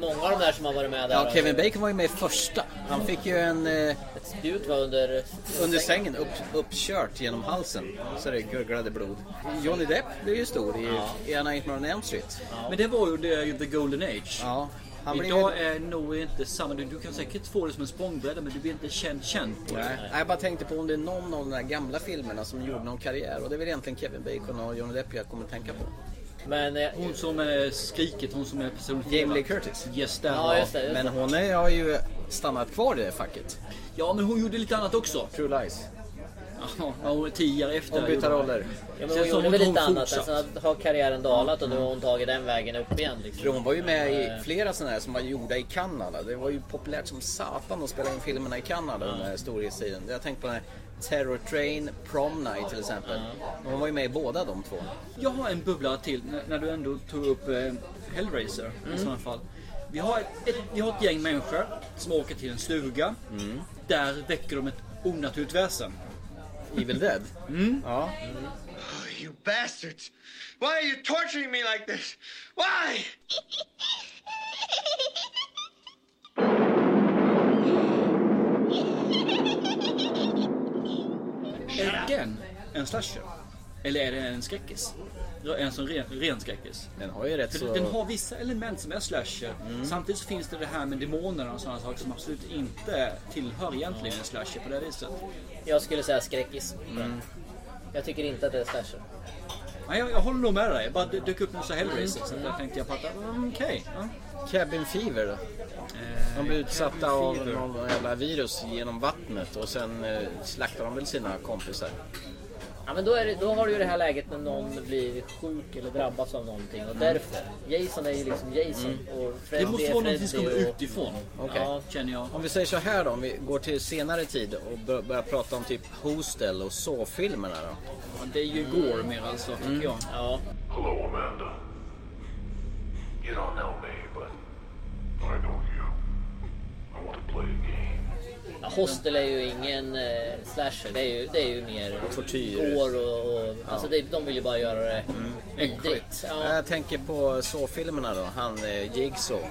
Många av de där som har varit med där.
Ja, Kevin Bacon var ju med i första. Han fick ju en... Eh,
Ett spjut var under...
Under sängen, upp, uppkört genom halsen. Så det gurglade blod. Johnny Depp blev ju stor i,
Ja.
i A Nightmare on Elm Street.
Men det var ju the, the golden age.
Ja, han blev
Idag
ju-
är nog inte samma. Du, du kan säkert få det som en språngbräda men du blir inte känd känd på
Nej.
det.
Nej, jag bara tänkte på om det är någon av de där gamla filmerna som gjorde någon karriär. Och det är väl egentligen Kevin Bacon och Johnny Depp jag kommer att tänka på.
Men, eh,
hon som är skriket, hon som är personligt
Jamie Lee Curtis.
Yes, där
Ja, just det, just Men det. hon är- har ju stannat kvar i det facket.
Ja, men hon gjorde lite annat också.
True Lies.
Ja, hon var tio år efter.
Hon bytte
gjorde
roller.
Ja, men
Sen
hon
så
gjorde
har
väl
hon
lite annat. alltså.
fortsatt.
Sen har karriären dalat och nu har hon tagit den vägen upp igen. Liksom.
För hon var ju med i flera sådana här som var gjorda i Kanada. Det var ju populärt som satan att spela in filmerna i Kanada under storhetstiden. Jag tänkte på den här Terror Train, Prom Night till exempel. Hon var ju med i båda de två.
Jag har en bubbla till när- när du ändå tog upp eh, Hellraiser i
Mm.
sådana fall. Vi har ett, ett, vi har ett gäng människor som åker till en stuga.
Mm.
Där väcker de ett onaturligt väsen.
Evil Dead?
Mm.
Ja.
You bastards! Why are you torturing me like this? Why?
Är den en slasher? Eller är det en skräckis? En sån ren, ren skräckis.
Den har ju rätt
För
så-
Den har vissa element som är slasher.
Mm.
Samtidigt så finns det det här med demoner och sådana saker som absolut inte tillhör egentligen en slasher på det viset.
Jag skulle säga skräckis. Jag tycker inte att det är slasher.
Nej, jag, jag håller nog med dig. Bara det dök upp en sån här Hellraiser. Så där tänkte jag på att mm, okej. ja.
Cabin Fever då? De blev utsatta
Eh, Cabin
av
Fever.
någon jävla virus genom vattnet och sen eh, slaktade de väl sina kompisar.
Ja, men då, är det, då har du ju det här läget när någon blir sjuk eller drabbas av någonting och
Mm.
därför. Jason är ju liksom Jason
Mm.
och Freddy
Det måste
är
vara någonting som
Freddy
kommer
och...
utifrån.
Okej.
Ja,
känner jag.
Om vi säger så här då, om vi går till senare tid och bör- börjar prata om typ Hostel och Saw-filmerna då.
Ja, det är ju gore mer alltså, tycker jag.
Ja.
Hello, Amanda. You don't know me, but I know you. I want to play a game.
Ja, Hostel är ju ingen eh, slasher, det är ju, det är ju mer
Tortyr.
Går och, och, alltså det, de vill ju bara göra det vidrigt. Ja.
Jag tänker på Saw-filmerna då, han eh, Jigsaw.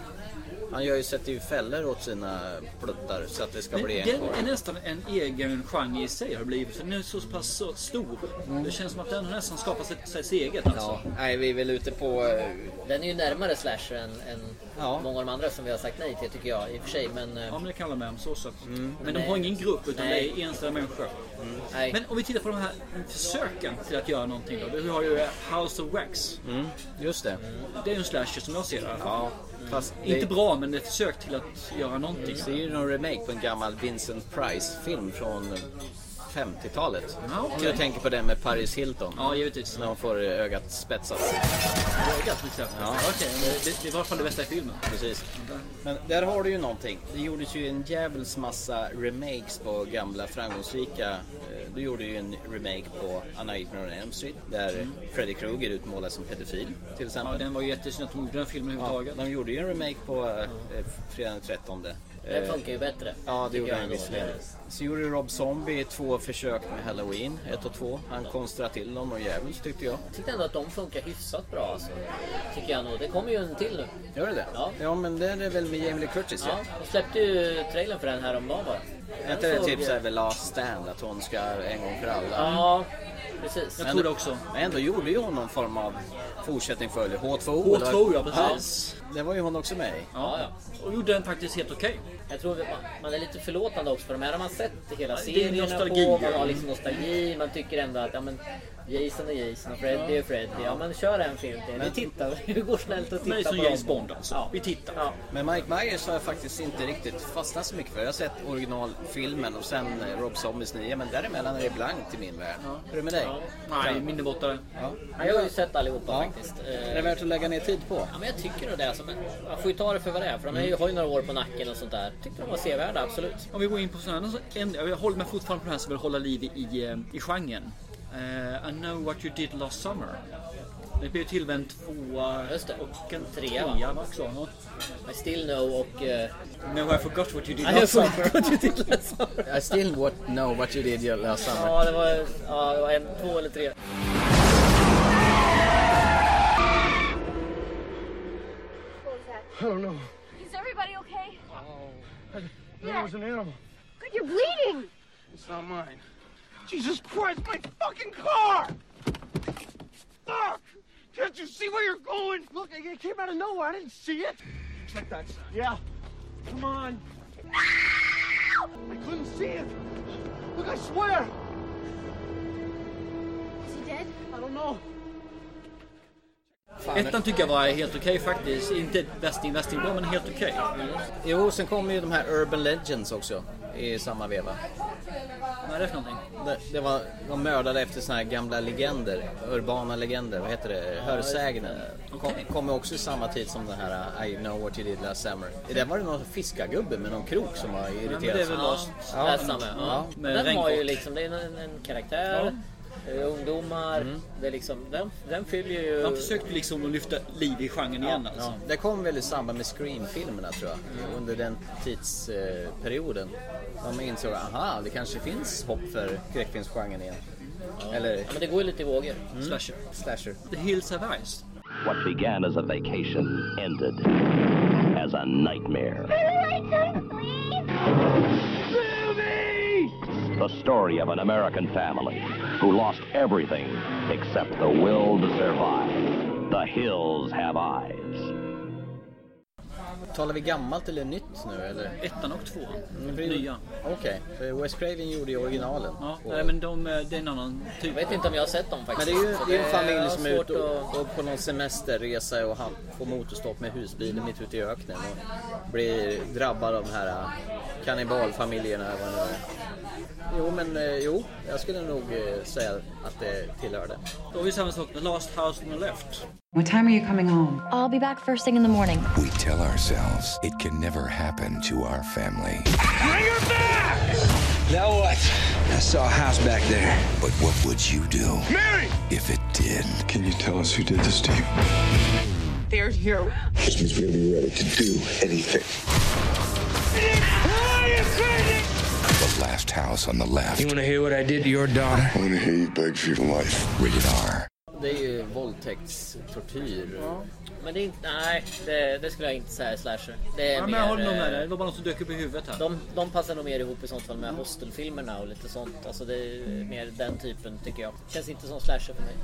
Han gör ju, sätter ju fällor åt sina pluttar så att det ska
Men
bli en
den
kvar.
är nästan en egen genre i sig har det blivit. För den är så pass så stor. Det känns som att den har nästan skapat sig, sig sitt eget alltså.
Nej, vi är väl ute på... eh,
Den är ju närmare slasher än, än många av de andra som vi har sagt nej till tycker jag i och för sig. Men, eh,
Ja, men det kan jag med om. Så, så. Men de
Nej.
har ingen grupp utan
Nej. Mm.
det är enstaka människor.
Nej.
Men om vi tittar på de här försöken till att göra någonting då. Vi har ju eh, House of Wax.
Mm, just det.
Det är ju en slasher som jag ser det i alla fall.
Ja, fast
Inte
det- Mm.
bra men ett försök till att göra någonting.
Det är ju någon remake på en gammal Vincent Price-film från 50-talet.
Ja, okej.
Om du tänker på den med Paris Hilton.
Ja, givetvis.
När hon får eh, ögat spetsat.
Ögat till exempel.
Ja.
Okej, men det, det var i alla fall det bästa i filmen.
Precis. Men där har du ju någonting. Det gjordes ju en jävels massa remakes på gamla framgångsrika... eh, Du gjorde ju en remake på A Nightmare on Elm Street där
Mm.
Freddy Krueger utmålas som pedofil till exempel.
Ja, den var ju jättesynd att de gjorde den filmen
Ja,
överhuvudtaget.
de gjorde ju en remake på eh, Fredag den 13.
Den funkar ju bättre.
Ja, det
tycker
gjorde
jag
han
ändå.
visserligen. Sen gjorde Rob Zombie två försök med Halloween, ett och två. Han konstrade till dem och djävulskt tyckte jag.
Jag tyckte ändå att de funkar hyfsat bra alltså. Tycker jag nog. Det kommer ju en till nu.
Gör det det? Ja. ja, men det är det väl med Jamie Lee Curtis
Ja, de släppte ju trailern för den här om bara.
Är inte det typ såhär The Last Stand, att hon ska en gång för alla?
Ja, precis.
Men- Men ändå gjorde ju hon någon form av fortsättning för H2O.
H2O,
eller?
ja, precis.
Ja, det var ju hon också med i.
Ja, ja.
Och gjorde den faktiskt helt okej.
Jag tror man, man är lite förlåtande också för de här har man sett hela
Ja, det är
serierna
nostalgi.
på. Man har liksom nostalgi. Man tycker ändå att ja, men Jason är Jason och Freddy är Freddy. Ja men kör en film till. Vi tittar. Vi går snällt och tittar på dem.
alltså.
Ja.
Vi tittar. Men Mike Myers har jag faktiskt inte riktigt fastnat så mycket för. Jag har sett originalfilmen och sen eh, Rob Zombies nya, men däremellan är det blankt i min värld. Hur är det med dig?
Ja. Nej,
min är borta. Ja.
Ja, jag har ju sett allihopa faktiskt.
Är det värt att lägga ner tid på?
Ja, men jag tycker nog det. Alltså, men man får ju ta det för vad det är. För de är ju, har ju några år på nacken och sånt där. Tyckte de var sevärda, absolut.
Om vi går in på sådana ämnen. Jag håller mig fortfarande på det här som vill hålla liv i, eh, i genren. Eh, I know what you did last summer. Det blir ju till en tvåa och en
trea, va?
trea också. ja.
I still know och... eh,
No, I forgot what you did
I
last summer.
forgot what you did last summer.
I still what, know what you did your last summer.
Ja, det var, ja, det var en, två eller tre.
What was that?
I don't know.
Is everybody okay?
I there was an animal.
God, you're bleeding!
It's not mine. Jesus Christ, my fucking car! Fuck! Can't you see where you're going? Look, it it came out of nowhere. I didn't see it. Check that side. Yeah. Come on. I couldn't see it. Look, I swear.
Is he dead?
I don't know.
Ettan tycker jag var helt okej faktiskt. Inte västing västing bra, men helt okej.
Jo, sen kommer ju de här Urban Legends också i samma veva.
Vad är det för någonting?
Det, det var, de mördade efter såna här gamla legender, urbana legender, vad heter det, hörsägner. Kom, kom också i samma tid som den här uh, I know what you did last summer. I den var det någon fiskargubbe med någon krok som var irriterad.
Ja,
Ja.
Last Summer. Ja.
Ja.
Men Den har ju liksom, det är en, en karaktär, eh, ungdomar. Det är liksom, den, den fyller ju...
De försökte liksom att lyfta liv i genren igen
Ja,
alltså.
ja. Det kom väl i samband med Scream-filmerna tror jag.
Mm.
Under den tidsperioden. De insåg aha, det kanske finns hopp för skräckfilmsgenren igen. Eller...
Ja, men det går ju lite i vågor.
Slasher.
Slasher.
The Hills Have Eyes.
What began as a vacation ended as a nightmare. The story of an American family who lost everything except the will to survive. The hills have eyes.
Talar vi gammalt eller nytt nu eller?
Ettan och tvåan.
Mm, det-
Nya.
Okej, okay. Wes Craven gjorde ju originalen.
Ja,
Och-
nej, men de, eh, det är en annan typ.
Jag vet inte om jag har sett dem
Men
faktiskt.
det är ju
Så
det är en
jag
familj som är
har
ute
svårt att-
och, och på någon semesterresa och han får motorstopp med husbilen mitt ute i öknen och blir drabbad av de här äh, kannibalfamiljerna. eller vad det nu är. Jo, men eh, jo, jag skulle nog eh, säga att det tillhör det.
Då har vi samma sak med Last House on the Left.
What time are you coming home?
I'll be back first thing in the morning.
We tell ourselves it can never happen to our family.
Now what? I saw a house back there.
But what would you do
Mary!
if it did?
Can you tell us who did this to you?
They're here.
This means we're gonna be ready to do anything.
The last house on the left.
You wanna hear what I did to your daughter? I wanna hear you beg for your life. Rated R.
Det är ju våldtäktstortyr.
Men det är inte, nej, det, det skulle jag inte säga är slasher. Det är
Ja, men
mer,
jag håller nog med dig.
eh,
Det var bara något som dök upp i huvudet här.
De, de passar nog mer ihop i sånt fall med hostelfilmerna och lite sånt. Alltså det är mer den typen tycker jag. Känns inte som slasher för mig.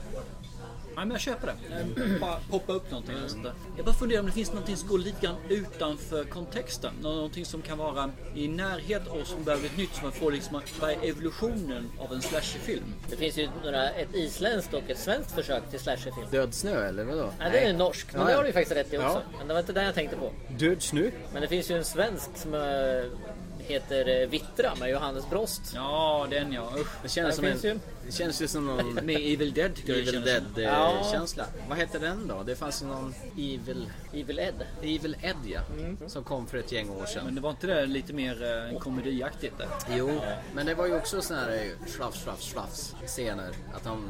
Nej, men jag köper det. Eh, Bara poppa upp någonting. och sånt där. Jag bara funderar om det finns någonting som går lite grann utanför kontexten. Nå- Någonting som kan vara i närhet och som behöver ett nytt. Så man får liksom, vad är evolutionen av en slasherfilm?
Det finns ju några, ett isländskt och ett svenskt försök till slasherfilm.
Död snö eller vadå?
Nej, det är ju norsk. Men
Ja,
det
ja.
har du ju faktiskt rätt i också.
Ja.
Men det var inte den jag tänkte på.
Död snö?
Men det finns ju en svensk som eh, heter eh, Vittra med Johannes Brost.
Ja, den ja. Usch.
Det känns, som en, det känns ju som någon...
Med Evil Dead tycker jag det
Evil
känns som. Ja.
Dead-känsla. Vad hette den då? Det fanns ju någon Evil...
Evil Ed.
Evil Ed ja. Som kom för ett gäng år sedan.
Men det var inte det lite mer eh, en komediaktigt? där?
Jo, men det var ju också sådana här eh, slafs, slafs, slafs scener. Att de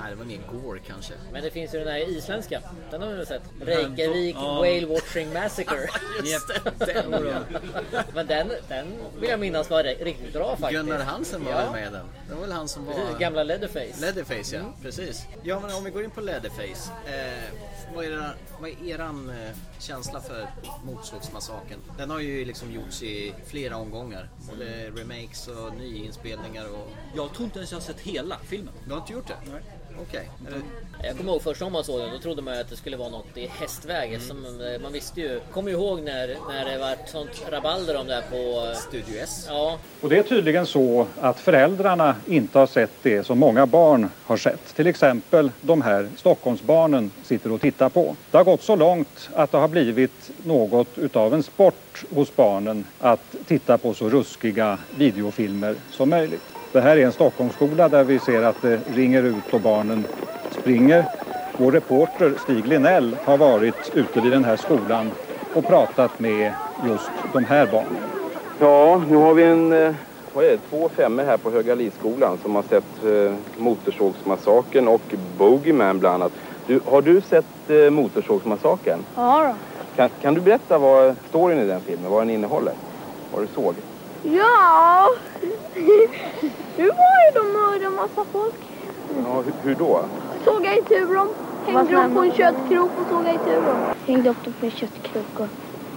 Nej, det var mer gore kanske.
Men det finns ju den här isländska. Den har vi väl sett? Reykjavik Whale Watching Massacre.
Just det, den var det.
Men den, den vill jag minnas var riktigt bra faktiskt.
Gunnar Hansen var
Ja.
väl med i den? Det Mm. var väl han som var...
Precis, gamla Leatherface.
Leatherface ja, precis. Ja men om vi går in på Leatherface. Eh, vad är, era, vad är eran eh, känsla för Motorsågsmassakern? Den har ju liksom gjorts i flera omgångar. Både remakes och nyinspelningar och...
Jag tror inte ens jag har sett hela filmen.
Du har inte gjort det? Nej. Okej.
Jag kommer ihåg första gången man såg den, då trodde man ju att det skulle vara något i hästväg.
Mm.
Som, eh, man visste ju, kommer ju ihåg när, när det var sånt rabalder om det här på...
Studio S?
Ja,
Och det är tydligen så att föräldrarna inte har sett det som många barn har sett. Till exempel de här Stockholmsbarnen sitter och tittar på. Det har gått så långt att det har blivit något utav en sport hos barnen att titta på så ruskiga videofilmer som möjligt. Det här är en Stockholmsskola där vi ser att det ringer ut och barnen springer. Vår reporter Stig Linell har varit ute vid den här skolan och pratat med just de här barnen.
Ja, nu har vi en, eh, vad är det, två femmor här på Högalidsskolan som har sett eh, Motorsågsmassakern och Bogeyman bland annat. Du, har du sett eh, Motorsågsmassakern?
Ja
Kan, kan du berätta vad storyn i den filmen, vad den innehåller? Vad du såg?
då. Ja. Nu var ju de mördade massa folk.
Ja, hur, hur då?
Såga i tur dem. Hängde dem på en köttkrok och såga i tur dem. Hängde upp dem på en köttkrok.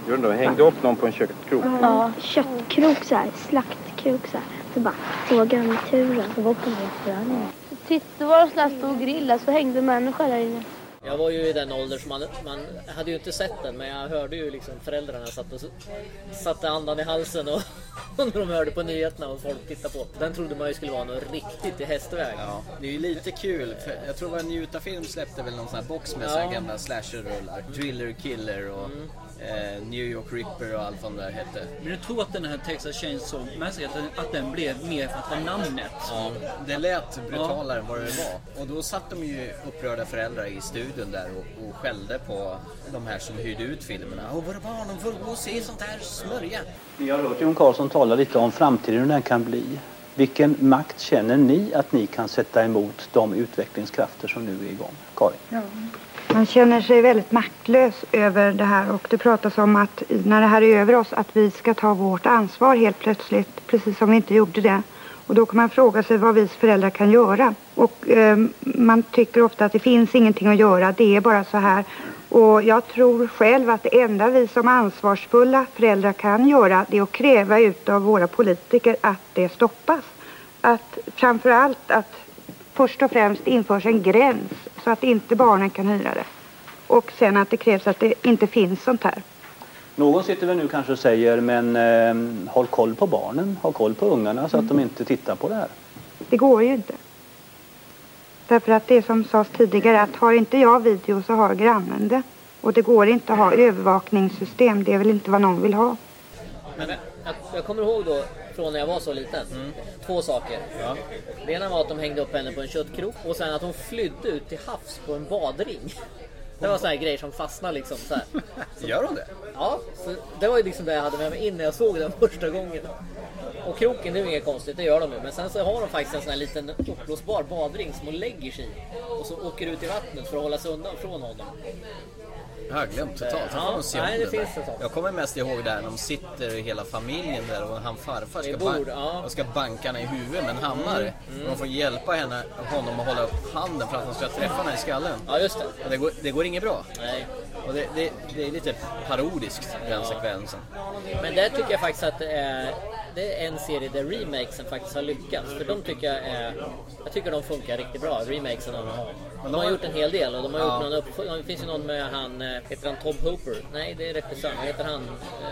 Gjorde de, hängde upp någon på en köttkrok?
Ja. Köttkrok så här. Slaktkrok så här. Så bara sågade de i tur dem. Det var på restaurangen. Titta vad de sådär stod och grillade så hängde människor där inne.
jag var ju i den åldern som man, man hade ju inte sett den men jag hörde ju liksom föräldrarna satt och, satte andan i halsen och när de hörde på nyheterna vad folk tittade på. Den trodde man ju skulle vara något riktigt i hästväg.
Ja, det är ju lite kul. För jag tror det var Njutafilm släppte väl någon sån här box med så
Ja.
här gamla slasher-rullar. Driller Killer och eh, New York Ripper och allt vad de där hette.
Men jag tror att den här Texas Chainsaw Massacre, att den- att den blev mer för att det var namnet.
Ja, det lät brutalare än vad det var. Och då satt de ju upprörda föräldrar i studion där och, och skällde på de här som hyrde ut filmerna. Och våra barn, de får gå och se sånt här smörja.
Vi har hört Jon Karlsson tala lite om framtiden hur den kan bli. Vilken makt känner ni att ni kan sätta emot de utvecklingskrafter som nu är igång? Karin?
Man känner sig väldigt maktlös över det här och det pratas om att när det här är över oss att vi ska ta vårt ansvar helt plötsligt, precis som vi inte gjorde det. Och då kan man fråga sig vad vi föräldrar kan göra. Och eh, man tycker ofta att det finns ingenting att göra, det är bara så här. Och jag tror själv att det enda vi som ansvarsfulla föräldrar kan göra det är att kräva ut av våra politiker att det stoppas. Att framför allt att först och främst införs en gräns så att inte barnen kan hyra det. Och sen att det krävs att det inte finns sånt här.
Någon sitter väl nu kanske och säger men eh, håll koll på barnen, håll koll på ungarna så att de inte tittar på det här.
Det går ju inte. Därför att det är som sades tidigare att har inte jag video så har grannen det. Och det går inte att ha övervakningssystem. Det är väl inte vad någon vill ha.
Men jag, jag kommer ihåg då från när jag var så liten.
Mm.
Två saker. Det ena var att de hängde upp henne på en köttkrok och sen att hon flydde ut till havs på en badring. Det var såna här grejer som fastnade liksom. Så här.
Gör hon det?
Ja, så det var ju liksom det jag hade med mig in när jag såg den första gången. Och kroken, det är ju inget konstigt, det gör de ju. Men sen så har de faktiskt en sån här liten uppblåsbar badring som hon lägger sig i. Och så åker ut i vattnet för att hålla sig undan från honom.
Jag har glömt totalt. Jag får
Ja,
nog se
nej,
om
det
den
finns
där.
det sånt.
Jag kommer mest ihåg där de sitter hela familjen där och han farfar
Vid
ska,
bord, ja.
och ska banka henne i huvudet med en hammare.
Mm, mm.
Och de får hjälpa henne, honom att hålla upp handen för att han ska träffa henne i skallen.
Ja, just det.
Och det, går, det går inget bra.
Nej.
Och det, det, det är lite parodiskt, den sekvensen.
Men där tycker jag faktiskt att det är, det är en serie där remakesen faktiskt har lyckats. För de tycker jag är, jag tycker de funkar riktigt bra, remakesen av dem. De har gjort en hel del och de har
Ja.
gjort någon uppföljning. Det finns ju någon med han, eh, heter han Tob Hooper? Nej, det är regissören. Vad heter han?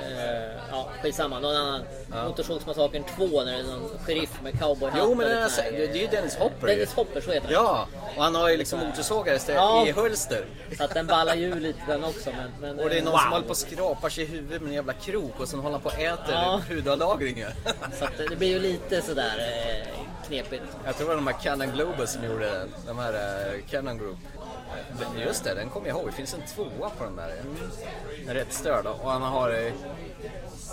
Eh, ja, skitsamma. Någon annan. Motorsågsmassakern 2 när det är någon sheriff med cowboyhatt.
Jo, men
och
den här,
lite sån här,
det är ju Dennis Hopper. ju.
Dennis Hopper, så heter han.
Ja, och han har ju liksom motorsågare istället- i hölster.
Så att den ballar ju lite den också. Men, men,
Och det är någon
eh,
som håller på och skrapar sig i huvudet med en jävla krok och sen håller han på och äter
Ja.
hudavlagringar.
Så att det det blir ju lite sådär eh, knepigt.
Jag tror det var de här Canon Globus som gjorde den. De här eh, Canon Group. Eh, den- Just det, den kommer jag ihåg. Det finns en tvåa på den där. eh. En rätt störd. Och han har, eh,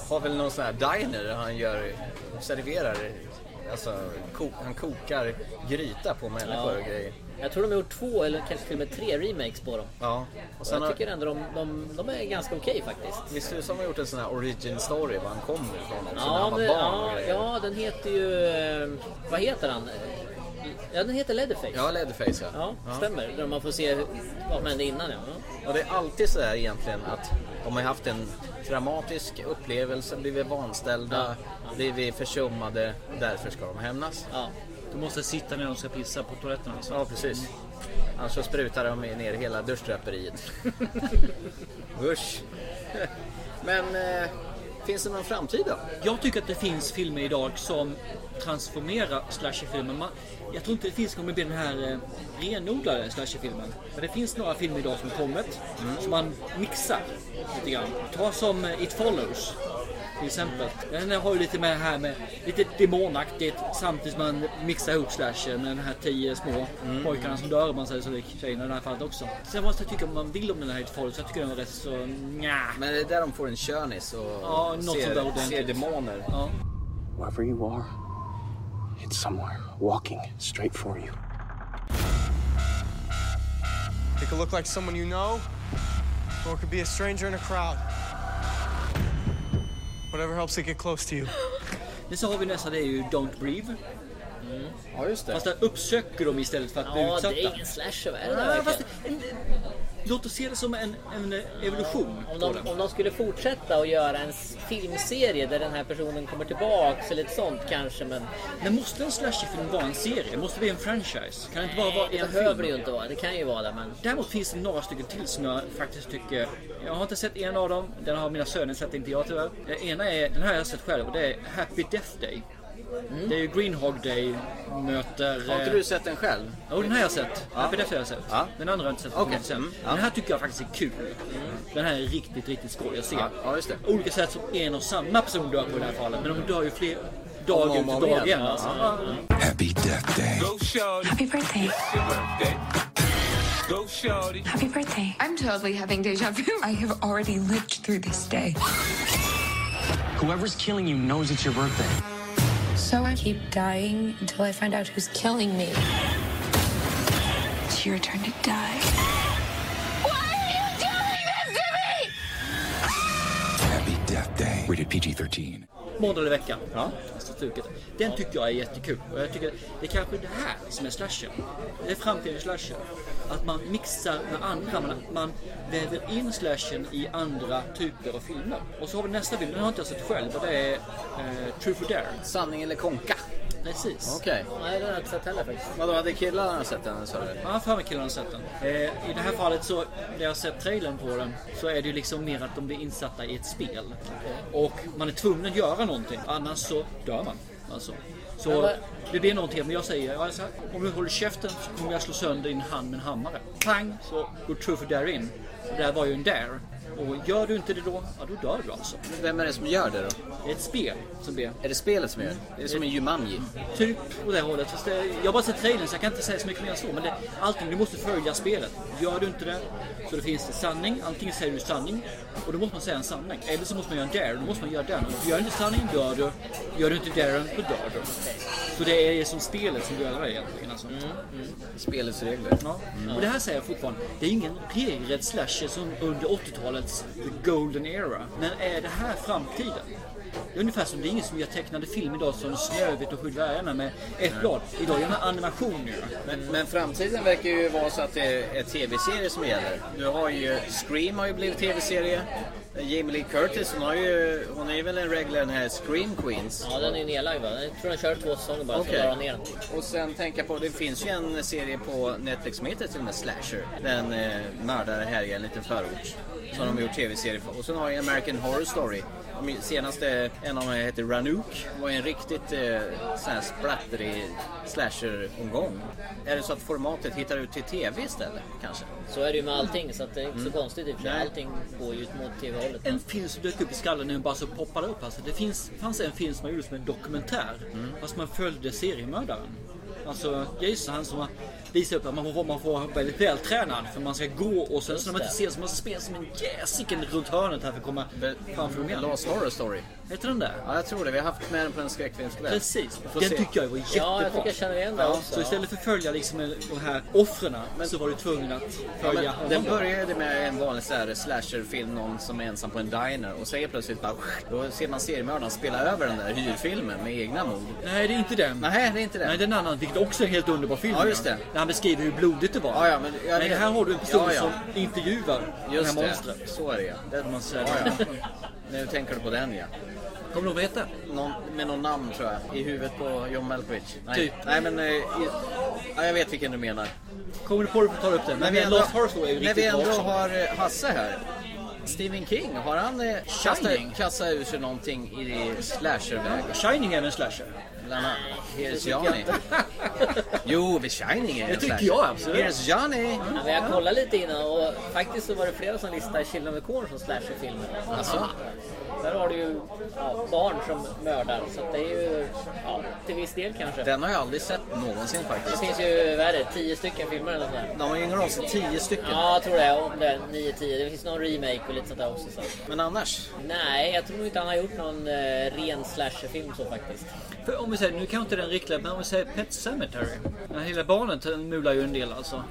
har väl någon sån här diner där han gör, serverar, eh, alltså ko- han kokar gryta på människor
Ja.
och grejer.
Jag tror de har gjort två eller kanske till och med tre remakes på dem.
Ja.
Och
sen
jag
har-
tycker ändå de, de, de är ganska okej faktiskt.
Visst är det som har gjort en sån här origin story, var han kom ifrån också, när han
Ja,
var
men,
barn och
ja,
grejer.
ja, den heter ju... eh, Vad heter han? Ja, den heter Leatherface.
Ja, Leatherface ja.
Ja, stämmer. Där man får se vad som hände innan. Ja.
Och det är alltid så här egentligen att de har haft en traumatisk upplevelse, blivit vanställda, blivit försummade, därför ska de hämnas.
Du måste sitta när de ska pissa på toaletten alltså.
Ja, precis. Annars så sprutar de ner hela duschdraperiet. Usch. Men eh, finns det någon framtid då?
Jag tycker att det finns filmer idag som transformerar slasherfilmen. Man- Jag tror inte det finns kommer bli den här eh, renodlade slasherfilmen. Men det finns några filmer idag som kommit som man mixar lite grann. Ta som eh, It Follows till exempel. Den har ju lite med här med lite demonaktigt samtidigt som man mixar ihop slasher med de här tio små pojkarna som dör om man säger så. lik Tjejerna i det här fallet också. Sen måste jag tycka om man vill om den här It Follows. Jag tycker den var rätt så nja.
Men det är där de får en körnis och
Ja, något sånt där
ser,
ordentligt.
ser demoner.
Ja.
Wherever you are, it's somewhere walking straight for you.
It could look like someone you know, or it could be a stranger in a crowd. Whatever helps it get close to you.
Men så har vi nästa, det är ju Don't Breathe.
Ja, just det.
Fast där uppsöker de istället för att bli
Ja,
utsatta.
det är ingen slasher, vad är det
Ja,
där verkligen?
fast en, Låt oss se det som en, en evolution.
Om
på
de,
det.
om de skulle fortsätta och göra en s- filmserie där den här personen kommer tillbaks eller ett sånt kanske men...
Men måste en slasherfilm vara en serie? Måste det bli en franchise? Kan det inte bara vara
det
en
behöver
film?
det ju inte vara. Det kan ju vara det men...
Däremot finns det några stycken till som jag faktiskt tycker... Jag har inte sett en av dem. Den har mina söner sett, inte jag tyvärr. Den ena är... Den här har jag sett själv och det är Happy Death Day.
Mm.
Det är ju Greenhog Day möter...
Har inte
eh,
du sett den själv?
Jo, den här har jag sett.
Ja.
Happy Death har jag sett. Den andra har jag inte sett.
Okej.
Okay.
Mm. Ja.
Den här tycker jag faktiskt är kul. Den här är riktigt, riktigt skoj att se.
Ja, ja, just det.
Olika sätt som en och samma person dör på i det här fallet. Men de dör ju fler
Om och
dag
om
ut och
och om
dag
igen.
igen. Alltså.
Ja.
Happy Death Day.
Happy birthday.
Go shorty.
Happy birthday. I'm totally having deja vu. I have already lived through this day.
Whoever's killing you knows it's your birthday.
So I keep dying until I find out who's killing me. It's your turn to die.
Happy Death Day. Rated PG 13.
Måndag i veckan. Ja. Den tycker jag är jättekul. Och jag tycker det är kanske det här som är slasher. Det är framtidens slasher. Att man mixar med andra. Man, man väver in slashen i andra typer av filmer. Och så har vi nästa bild. Den har inte jag sett själv. Och det är eh, Truth or Dare.
Sanning eller konka.
Precis.
Okej.
Nej, den har jag inte sett heller faktiskt.
Vadå, hade killarna sett den sa du?
Ja, för mig killarna har sett den. Eh, I det här fallet så, när jag har sett trailern på den, så är det ju liksom mer att de blir insatta i ett spel. Och man är tvungen att göra någonting, annars så dör man. Alltså.
Men
Så
vad-
det blir någonting, men jag säger ja, så här, om du håller käften så kommer jag slå sönder din hand med en hammare. Pang! Så går true for dare in. Och Det här var ju en dare. Och gör du inte det då, ja då dör du alltså.
Vem är det som gör det då?
Det är ett spel som blir.
Är det spelet som gör det? Det är som en Jumanji.
Typ åt det hållet. Fast det, jag har bara sett trailern så jag kan inte säga så mycket mer än så. Men det, allting, du måste följa spelet. Gör du inte det så det finns det sanning. Antingen säger du sanning och då måste man säga en sanning. Eller så måste man göra en dare och då måste man göra den. Gör du inte sanningen dör du. Gör du inte daren då dör du. Så det är som spelet som dödar dig egentligen. Alltså.
Spelets regler.
Ja.
Mm.
Och det här säger jag fortfarande. Det är ingen regelrätt slasher som under 80-talets the golden era. Men är det här framtiden? Det är ungefär som det är ingen som gör tecknade film idag som Snövit och Skyddvärgarna med ett blad. Idag gör man animation ju.
Men, men framtiden verkar ju vara så att det är tv-serier som gäller. Du har ju Scream har ju blivit tv-serie. Jamie Lee Curtis, hon, har ju, hon är ju väl en regular den här Scream Queens.
Ja, den är ju nedlagd va? Jag tror de kör två säsonger bara, så
Okej.
drar de ner den.
Och sen tänka på, det finns ju en serie på Netflix som heter till och med Slasher. Den eh, mördare härjar en liten förort. Som de har gjort tv-serie på. Och sen har jag American Horror Story. De senaste, en av dem heter Ranook. var en riktigt eh, sån här splatterig slasher-omgång. Är det så att formatet hittar ut till tv istället kanske?
Så är det ju med allting så att det är
Mm.
inte så konstigt i och för sig.
Nej.
Allting går ju ut mot TV-hållet.
En film som dök upp i skallen när den bara så poppade upp. Alltså, det finns, fanns en film som man gjorde som en dokumentär. Fast man följde seriemördaren. Alltså Jason, han som var visar upp att man får, man får vara väldigt vältränad för man ska gå och sen så när man inte
Just
ser så man spelar som en jäsiken runt hörnet här för att komma framför dem igen.
Last Horror Story.
Heter den det?
Ja, jag tror det. Vi har haft med den på en skräckfilmskväll.
Precis,
Vi får
den
se.
tycker jag var jättebra. Ja, Så istället för att följa liksom de här offren så var du tvungen att
Ja,
följa
men den började med en vanlig så här slasherfilm, någon som är ensam på en diner och sen helt plötsligt bara, då ser man seriemördaren spela över den där hyrfilmen med egna mord.
Nej, det är inte den.
Nej, det är inte den.
Nej, den annan, vilket också är en helt underbar film.
Ja, just det.
Där han beskriver hur blodigt det var.
Ja, ja, men jag
Nej,
vet.
här har du en person
Ja, ja.
som intervjuar
Just
det här
det,
monstret.
så är det ja. Det,
man säger.
Ja, ja. Nu tänker du på den ja.
Kommer du ihåg vad hette?
Någon, med någon namn tror jag, i huvudet på John Malkovich. Nej,
Typ.
nej men eh, i, ja, jag vet vilken du menar.
Kommer du på det tar du upp den. Men, men Last Horror Story är ju
när vi
riktigt bra
ändå
också.
har eh, Hasse här. Stephen King, har han eh, kastat kastat ur sig någonting i slasherväg?
Shining är en slasher.
Bland annat. Here's
tycker jag
Johnny.
inte.
Jo, The Shining är en
Det tycker
slasher.
jag, absolut.
Here's Johnny.
Ja, men jag kollade lite innan och faktiskt så var det flera som listade Children of the Corn som slasherfilmer.
Alltså?
Där har du ju ja, barn som mördar så att det är ju ja, till viss del kanske.
Den har jag aldrig sett någonsin
Det
faktiskt.
finns ju, vad är det, tio stycken filmer eller nåt sånt där.
De har yngre av sig, tio stycken.
Ja, jag tror det. Om det är nio, tio. Det finns någon remake och lite sånt där också. Så.
Men annars?
Nej, jag tror nog inte han har gjort någon eh, ren slasherfilm så faktiskt.
För om vi säger, nu kan inte den riktiga, men om vi säger Pet Cemetery. Den här lilla barnet mular ju en del alltså.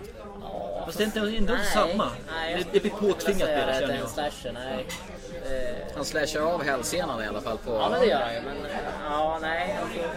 Fast det är inte ändå
Nej,
samma.
nej, jag
det, det blir
skulle inte
påtvingat
säga
mer
att det
känner
är en
jag.
slasher, nej. Eh,
Han slashar av hälsenan i alla fall på...
Ja, men det gör han ju. Men ja, nej. Jag tror-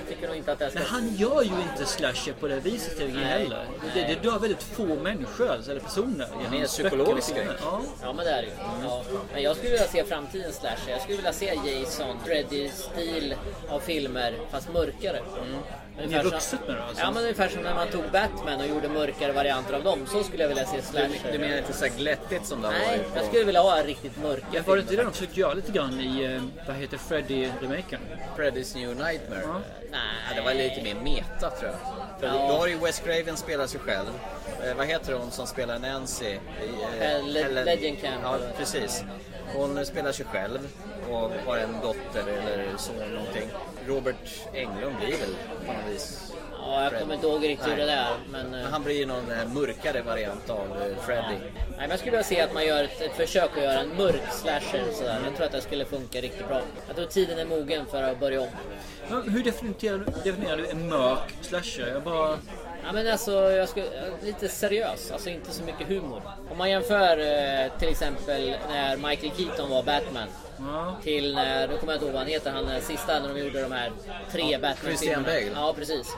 jag tycker nog inte att det ska...
Men han gör ju inte slasher på det viset till heller. Det, det
nej.
dör väldigt få människor alltså, eller personer. i
är
hans
psykologisk
böcker.
skräck.
Ja.
Ja men det är det ju.
Mm.
Ja. Men jag skulle vilja se framtidens slasher. Jag skulle vilja se Jason, Freddy-stil av filmer fast mörkare.
Mm. Ni
Ungefär
är
som-
vuxet nu då? Alltså.
Ja men ungefär som när man tog Batman och gjorde mörkare varianter av dem. Så skulle jag vilja se slasher.
Du, du menar inte så här glättigt som det har
Nej,
varit? på-
jag skulle vilja ha riktigt mörka
Ja, Var det inte det de försökte göra lite grann i, eh, vad heter Freddy-remaken?
Freddy's New Nightmare.
Ja.
Ja, det var lite mer meta tror jag. För
Ja.
Då har ju Wes Craven spelat sig själv. Eh, vad heter hon som spelar Nancy? I, eh,
Hel- Legend
Ja,
Campbell.
precis. Hon spelar sig själv och har en dotter eller son eller någonting. Robert Englund blir väl på något vis
Ja, jag
Freddy.
kommer inte ihåg riktigt hur
Nej.
det är. Men, eh,
Han blir ju någon eh, mörkare variant av eh, Freddy.
Nej, men jag skulle vilja se att man gör ett, ett försök att göra en mörk slasher. Sådär. Jag tror att det skulle funka riktigt bra. Jag tror tiden är mogen för att börja om.
Men Hur definierar du, definierar du en mörk slasher? Jag bara...
Ja, men alltså, jag ska, lite seriös, alltså inte så mycket humor. Om man jämför eh, till exempel när Michael Keaton var Batman
Ja.
till när, nu kommer jag inte ihåg vad han heter, han eh, sista när de gjorde de här tre
Ja, Christian
Batman-filmerna.
Bale.
Ja, precis.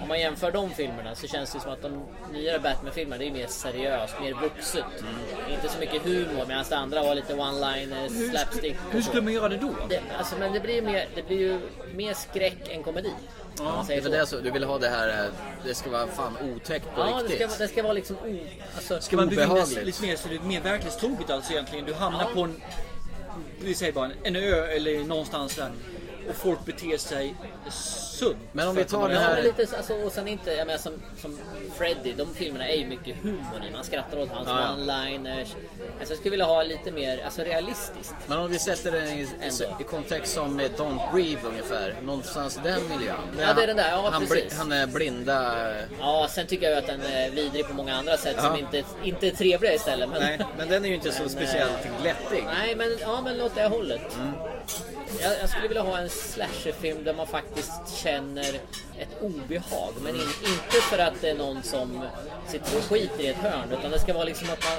Om man jämför de filmerna så känns det som att de nyare Batman-filmerna det är mer seriöst, mer vuxet.
Mm.
Inte så mycket humor medan det andra var lite one-liners,
Hur,
slapstick.
skulle-
och
hur
så.
skulle man göra det då?
det, alltså, men det blir, mer, det blir ju mer skräck än komedi. om man
Det
säger
är väl
så.
det, så, du vill ha det här, eh, det ska vara fan otäckt på
Ja, det
riktigt.
ska, vara- det ska vara liksom... o- Alltså,
Ska man befinna sig
Obehagligt.
lite mer, så det är mer verklighetstroget alltså egentligen? Du hamnar på en, vi säger bara en ö eller någonstans där och folk beter sig sunt.
Men om
för
vi
att
tar
komma
det
över.
här-
Ja, men Lite, alltså, och sen inte, jag menar, som, som Freddy, de filmerna är ju mycket humor i. Man skrattar åt hans
Ja, ja.
one-liners. Alltså, jag skulle vilja ha lite mer alltså, realistiskt.
Men om vi sätter den i, i kontext som eh, Don't Breathe ungefär, någonstans den miljön.
Ja, det är den där. Ja,
han,
precis.
han är blinda... eh,
Ja, sen tycker jag ju att den är vidrig på många andra sätt
Ja.
som inte, inte är trevliga istället. Men,
Nej, men den är ju inte så
Men, eh,
speciellt glättig.
Nej, men, ja, men åt det hållet.
Mm.
Jag, jag skulle vilja ha en slasherfilm där man faktiskt känner ett obehag. Men in,
Mm.
inte för att det är någon som sitter och skiter i ett hörn. Utan det ska vara liksom att man,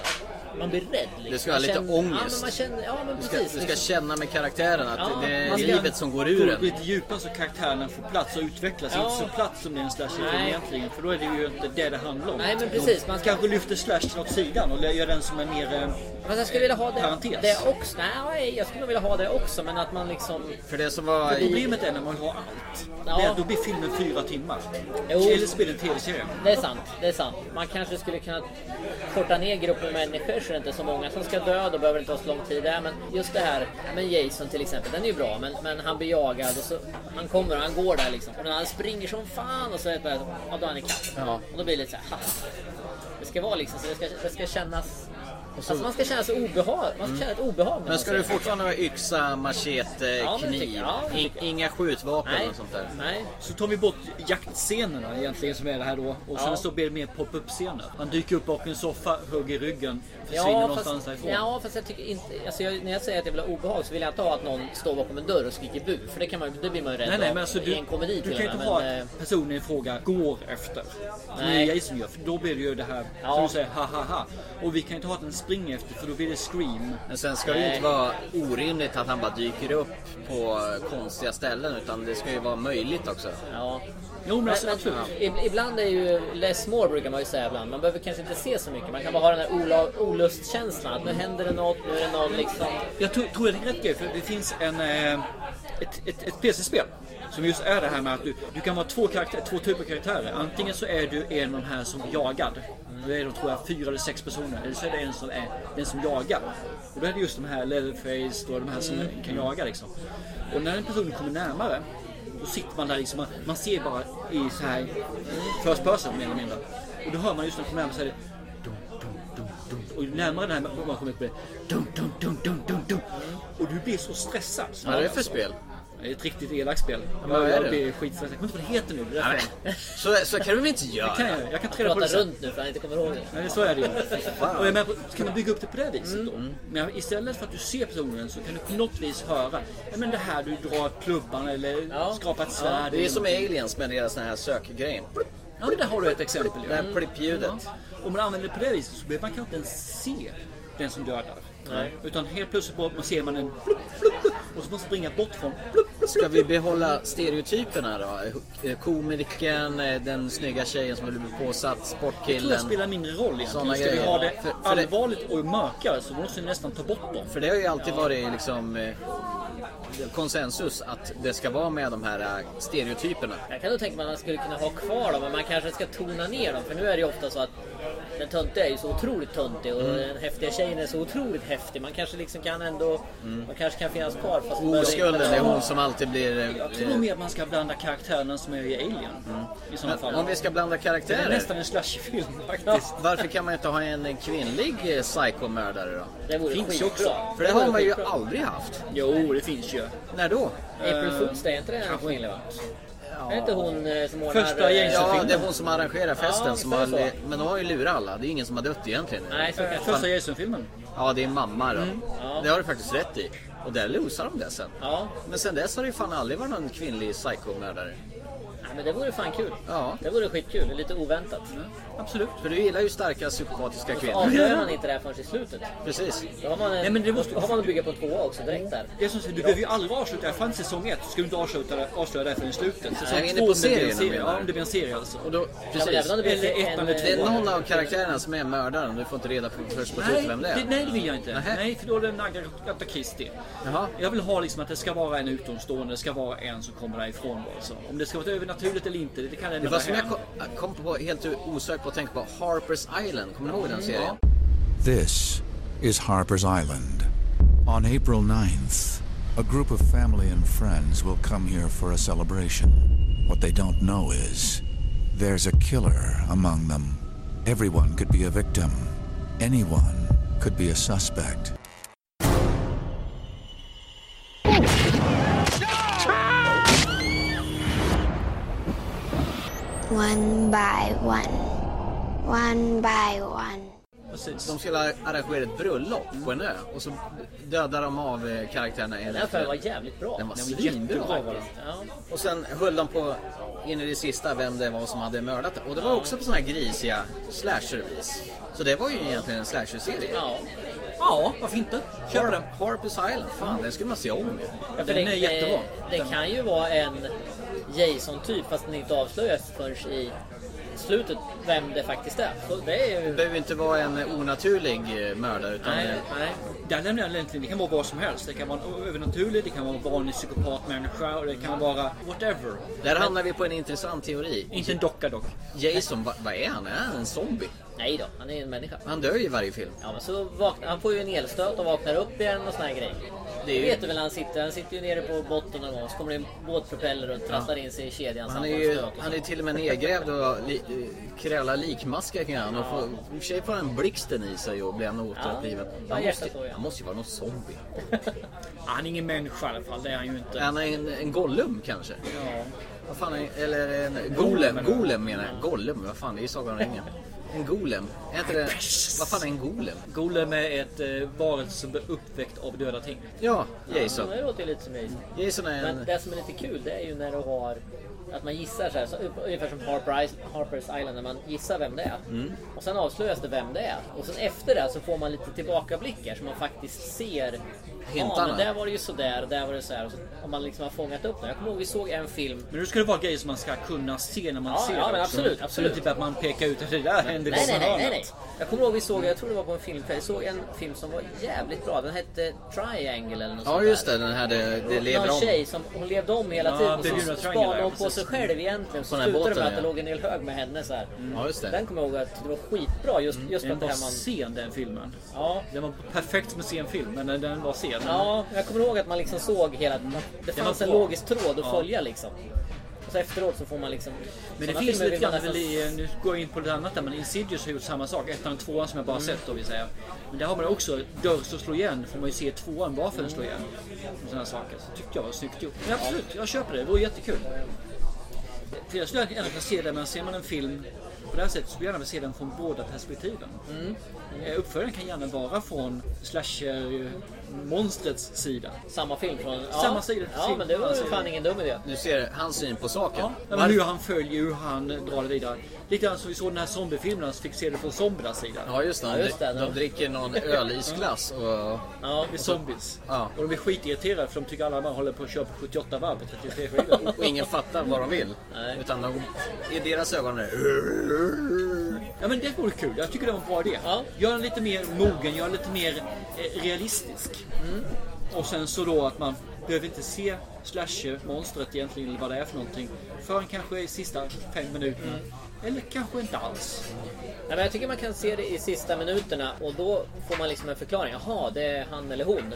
att man blir rädd. Liksom.
Du ska ha
Man
lite
känner- Ja, men
ångest.
man känner, ja, men
Du ska,
precis.
du ska
liksom.
känna med karaktären att
Ja,
det är
man ska-
livet som går ur en.
lite djupare så karaktärerna får plats och utvecklas.
Ja.
Inte så plats som det är en slasherfilm
Nej.
egentligen. För då är det ju inte det det handlar om.
Nej, men precis,
Man kanske lyfter slashen åt sidan och gör den som är mer eh,
Fast jag skulle vilja ha det,
parentes.
det också. Nej, jag skulle vilja ha det också. Men att man liksom...
För det som var...
För Problemet är när man har allt.
Ja.
Det är att då blir filmen fyra timmar.
Jo.
Eller så blir det en tv-serie.
Det är sant, det är sant. Man kanske skulle kunna korta ner gruppen människor så det är inte är så många som ska dö. Då behöver det inte ta så lång tid. där. Men just det här, ja, men Jason till exempel, den är ju bra. Men, men han blir jagad och så han kommer och han går där liksom. Men han springer som fan och så är det bara, ja då är han ikapp.
Ja.
Och då blir det lite så här, ha. Det ska vara liksom, så det ska, det ska kännas Alltså man ska känna sig obehag. Man ska känna ett obehag. när man
Men ska
ser
du
det.
fortfarande ha yxa, machete,
Ja, men det
kniv?
tycker jag. Ja, det
In, inga skjutvapen och sånt där?
Nej.
Så tar vi bort jaktscenerna egentligen som är det här då. Och sen
Ja.
så blir det mer pop-up-scener. Han dyker upp bakom en soffa, hugger i ryggen, försvinner någonstans därifrån.
Ja, fast jag tycker inte... Alltså jag, när jag säger att jag vill ha obehag så vill jag inte ha att någon står bakom en dörr och skriker bu. För det, kan man, det blir man ju rädd
Nej, nej,
av
men alltså
i
du,
en komedi
du
till
kan ju
och
inte
med,
ha
men, eh,
att personen i fråga går efter. Som
Nej.
är Jason gör, för då blir det ju det här som
Ja.
du säger, ha ha ha. Och vi kan ju inte ha att den springer efter för då blir det scream.
Men sen ska det ju inte vara orimligt att han bara dyker upp på konstiga ställen utan det ska ju vara möjligt också.
Ja.
Jo, men alltså, absolut.
ib- Ibland är ju less more brukar man ju säga ibland. Man behöver kanske inte se så mycket. Man kan bara ha den här ola- olustkänslan. Att nu händer det något, nu är det någon liksom.
Jag tror, tror det är rätt grej, för det finns en, eh, ett, ett, ett PC-spel som just är det här med att du, du kan vara två, karaktär, två typer av karaktärer. Antingen så är du en av de här som är jagad. Då är de tror jag fyra eller sex personer. Eller så är det en som är den som jagar. Och då är det just de här Leatherface och de här som
Mm.
kan jaga liksom. Och när den personen kommer närmare då sitter man där liksom, man, man ser bara i så här eh, first person mer eller mindre. Och då hör man just när man kommer närmare så är det dum, dum, dum, dum. och ju närmare det här man man kommer upp med dum, dum, dum, dum, dum, dum. Och du blir så stressad.
Vad är det för spel?
Det är ett riktigt elakt spel.
men vad
Jag,
är
jag
det?
blir skitstressad. Jag kommer inte ihåg vad det heter nu. Det är
Nej,
därför jag-
Så, så kan du väl inte göra?
Det kan jag. Jag kan träda på
Prata
det sen.
runt nu för han inte kommer ihåg det.
Nej, så är det ju.
Fan.
Och jag menar, kan man bygga upp det på det viset
Mm,
då? Men istället för att du ser personen så kan du på något vis höra. Ja, men det här du drar klubban eller skrapar ett svärd.
Det är
eller
som
någonting.
aliens med deras den här sökgrejen.
Ja, men där har du ett exempel.
Det här plippljudet.
Ja. Om man använder det på det viset så behöver man kanske inte ens se den som dödar.
Nej.
Utan helt plötsligt bara, man ser man en flupp, flupp, flupp, och så måste man springa bort från flupp.
Ska vi behålla stereotyperna då? Eh, Komikern, eh, den snygga tjejen som blir påsatt,
Det tror
sportkillen.
jag spelar mindre roll egentligen.
Såna
Ska vi
grejer.
ha det
För- för det-
allvarligt och mörkare så måste vi nästan ta bort dem.
För det har ju alltid varit liksom eh, konsensus att det ska vara med de här eh, stereotyperna.
Jag kan nog tänka mig att man skulle kunna ha kvar dem, men man kanske ska tona ner dem. För nu är det ju ofta så att den töntiga är ju så otroligt töntig och
Mm.
den häftiga tjejen är så otroligt häftig. Man kanske liksom kan ändå...
Mm.
Man kanske kan finnas kvar. Fast man behöver
Oskulden,
inte-
det är hon som alltid blir... eh,
Jag tror mer att man ska blanda karaktärerna som är i Alien. I sådana
Mm. Men
fall.
om vi ska blanda karaktärer?
Det är nästan en slasherfilm faktiskt.
Varför kan man inte ha en kvinnlig eh, psykomördare då?
Det vore
finns ju
skitbra.
också. För det
Det vore
har man ju
skitbra.
aldrig haft.
Jo, det finns ju.
När då?
April Fools Day, är inte det en kvinnlig va? Är inte hon eh, som ordnar... eh,
Ja, det är hon som arrangerar festen.
Ja,
som har,
visst är det så.
men de har ju lurat alla. Det är ingen som har dött egentligen.
Nej, så kan det
Första Jason-filmen.
Ja, det är mamma då.
Mm.
Det har du faktiskt rätt i. Och där losar de det sen.
Ja.
Men sen dess har det ju fan aldrig varit någon kvinnlig psykomördare.
Nej, men det vore fan kul.
Ja.
Det vore skitkul. Det är lite oväntat.
Absolut.
För du gillar ju starka psykopatiska
Så
kvinnor.
avslöjar man inte det här förrän i slutet.
Precis.
Då har man, en,
Nej, men det måste-
då har man att bygga på en tvåa också direkt där.
Det är som sagt, du behöver ju aldrig avsluta det. Fanns säsong 1 så ska du inte avsluta det, avslöja det förrän i slutet. Säsong
Jag är inne
två,
på
om det blir en
serierna,
serie.
menar du?
Ja, om det blir en serie alltså.
Och då, precis.
Eller ettan eller
Det är
tvåan.
någon av karaktärerna som är mördaren. Du får inte reda på först på slutet
Nej,
vem det är.
det, nej, det vill jag inte. Nej, för då är det en Agatha Christie. Jag vill ha liksom att det ska vara en utomstående, det ska vara en som kommer därifrån. Alltså. Om det ska vara ett övernaturligt eller inte, det kan
Det
ändå
var
vara
som jag
hem.
kom, kom på helt osökt på att tänka på Harper's Island. Kommer ni ihåg den
Mm,
serien?
This is Harper's Island. On April 9th, a group of family and friends will come here for a celebration. What they don't know is there's a killer among them. Everyone could be a victim, anyone could be a suspect.
One by one. One by one.
De skulle arrangera ett bröllop på en ö och så dödade de av eh, karaktärerna en
Den här
efter
affären var
en.
jävligt bra.
Den var
jättebra
svinbra.
faktiskt. Ja.
Och sen höll de på in i det sista vem det var som hade mördat det. Och det var också på såna här grisiga slashervis. Så det var ju egentligen en slasherserie.
Ja.
Ja, varför inte? Kör den.
Harper's Island, fan den skulle man se om ju.
Ja, för det- Det, det kan ju vara en Jason-typ fast den inte avslöjas förrän i slutet vem det faktiskt är. Så det är ju...
behöver inte vara en onaturlig eh, mördare utan
Nej,
eh,
nej. Där lämnar jag egentligen, det kan vara vad som helst. Det kan vara en övernaturlig, det kan vara en vanlig psykopatmänniska och det kan vara whatever.
Där hamnar vi på en intressant teori.
Inte en docka dock.
Jason, vad vad är han? Är han en zombie?
Nej då, han är ju en människa.
Han dör ju i varje film.
Ja, men så vaknar, han får ju en elstöt och vaknar upp igen och såna här grejer.
Det är ju-
vet du väl han sitter? Han sitter ju nere på botten någon gång så kommer det en båtpropeller och trasslar in sig i kedjan. så
Han är
får en
ju
stöt och
han
så.
är till och med nedgrävd och li, eh, krälar likmaskar kan han. Och får, I och för sig får han blixten i sig och blir han återupplivad.
Ja,
Han,
hjärtat
måste-
så, ja.
han måste ju vara någon zombie.
Han är ingen människa i alla fall, det är han ju inte.
Han är en, en Gollum kanske?
Ja.
Vad fan är, eller en golem, golem menar jag. Golem, vad fan det är ju Sagan om ringen. En golem. Är inte det, vad fan är en golem?
Golem är ett eh, varelse som blir uppväckt av döda ting.
Ja,
Ja, det låter ju lite som Jason.
Jason är en-
Men det som är lite kul det är ju när du har att man gissar så här, så, ungefär som Harper Is- Harper's Island när man gissar vem det är.
Mm.
Och sen avslöjas det vem det är. Och sen efter det så får man lite tillbakablickar så man faktiskt ser. Ja,
Hintarna.
men där var det ju sådär, där var det så här. Och så, om man liksom har fångat upp det. Jag kommer ihåg vi såg en film.
Men nu ska det vara grejer som man ska kunna se när man
Ja,
ser
ja,
det
men
också.
absolut,
Så det är
absolut.
typ att man pekar ut att det där händer
nej,
i
nej, nej, nej, nej.
hörnet.
Jag kommer ihåg vi såg, jag tror det var på en film, jag såg en film som var jävligt bra. Den hette Triangle eller något
Ja
sånt
just
där.
det, den här det, det lever
Någon
om.
tjej som hon levde om
Ja,
hela tiden
det
och
blir
så
några triangle
spanade
där,
hon på
precis.
sig själv egentligen. Så
På den här
slutade det
båten,
med att
ja.
det låg en hel hög med henne så här.
Mm.
Ja, just det.
Den kommer jag ihåg att det var skitbra just, just för
Den
att det
var
här man...
sen den filmen.
Ja.
Den var perfekt som en sen film, men den- den var sen.
Ja, jag kommer ihåg att man liksom såg hela... Det
Den
fanns
Mm. var
en
bra.
logisk tråd att
Ja.
följa liksom. Och så efteråt så får man liksom...
Men det
sådana
finns
filmer
lite
vill man
grann väl
nästan-
i, nu går jag in på det annat där, men Insidious har gjort samma sak. Ettan och tvåan som jag bara
Mm.
sett då vill säga. Men där har man också dörr som slår igen, får man ju se tvåan varför den slår igen. Och sådana saker. Så tyckte jag var snyggt gjort. Men absolut, jag köper det. Det vore jättekul. För jag skulle gärna vilja se det, men ser man en film på det här sättet så skulle jag gärna vilja se den från båda perspektiven.
Mm.
Eh, Uppföljaren kan gärna vara från slasher-monstrets sida.
Samma film från... ja.
Samma sida.
Ja, men det var ju fan ingen dum idé.
Du ser hans syn på saken.
Ja, men hur han följer, hur han drar det vidare. Lite grann som vi såg den här zombiefilmen, han fick se det från zombiernas sida.
Ja just det, han, de, dricker någon ölisglass och...
Ja, med zombies.
Ja.
Och de blir skitirriterade för de tycker alla bara håller på att köra på 78 varv på 33 skivor.
Och ingen fattar vad de vill. Utan de, i deras ögon är det...
Ja men det vore kul, jag tycker det var en bra idé. Gör den lite mer mogen, gör den lite mer eh, realistisk. Och sen så då att man behöver inte se slasher-monstret egentligen eller vad det är för någonting förrän kanske i sista fem minuterna. Eller kanske inte alls.
Nej, men jag tycker man kan se det i sista minuterna och då får man liksom en förklaring. Jaha, det är han eller hon.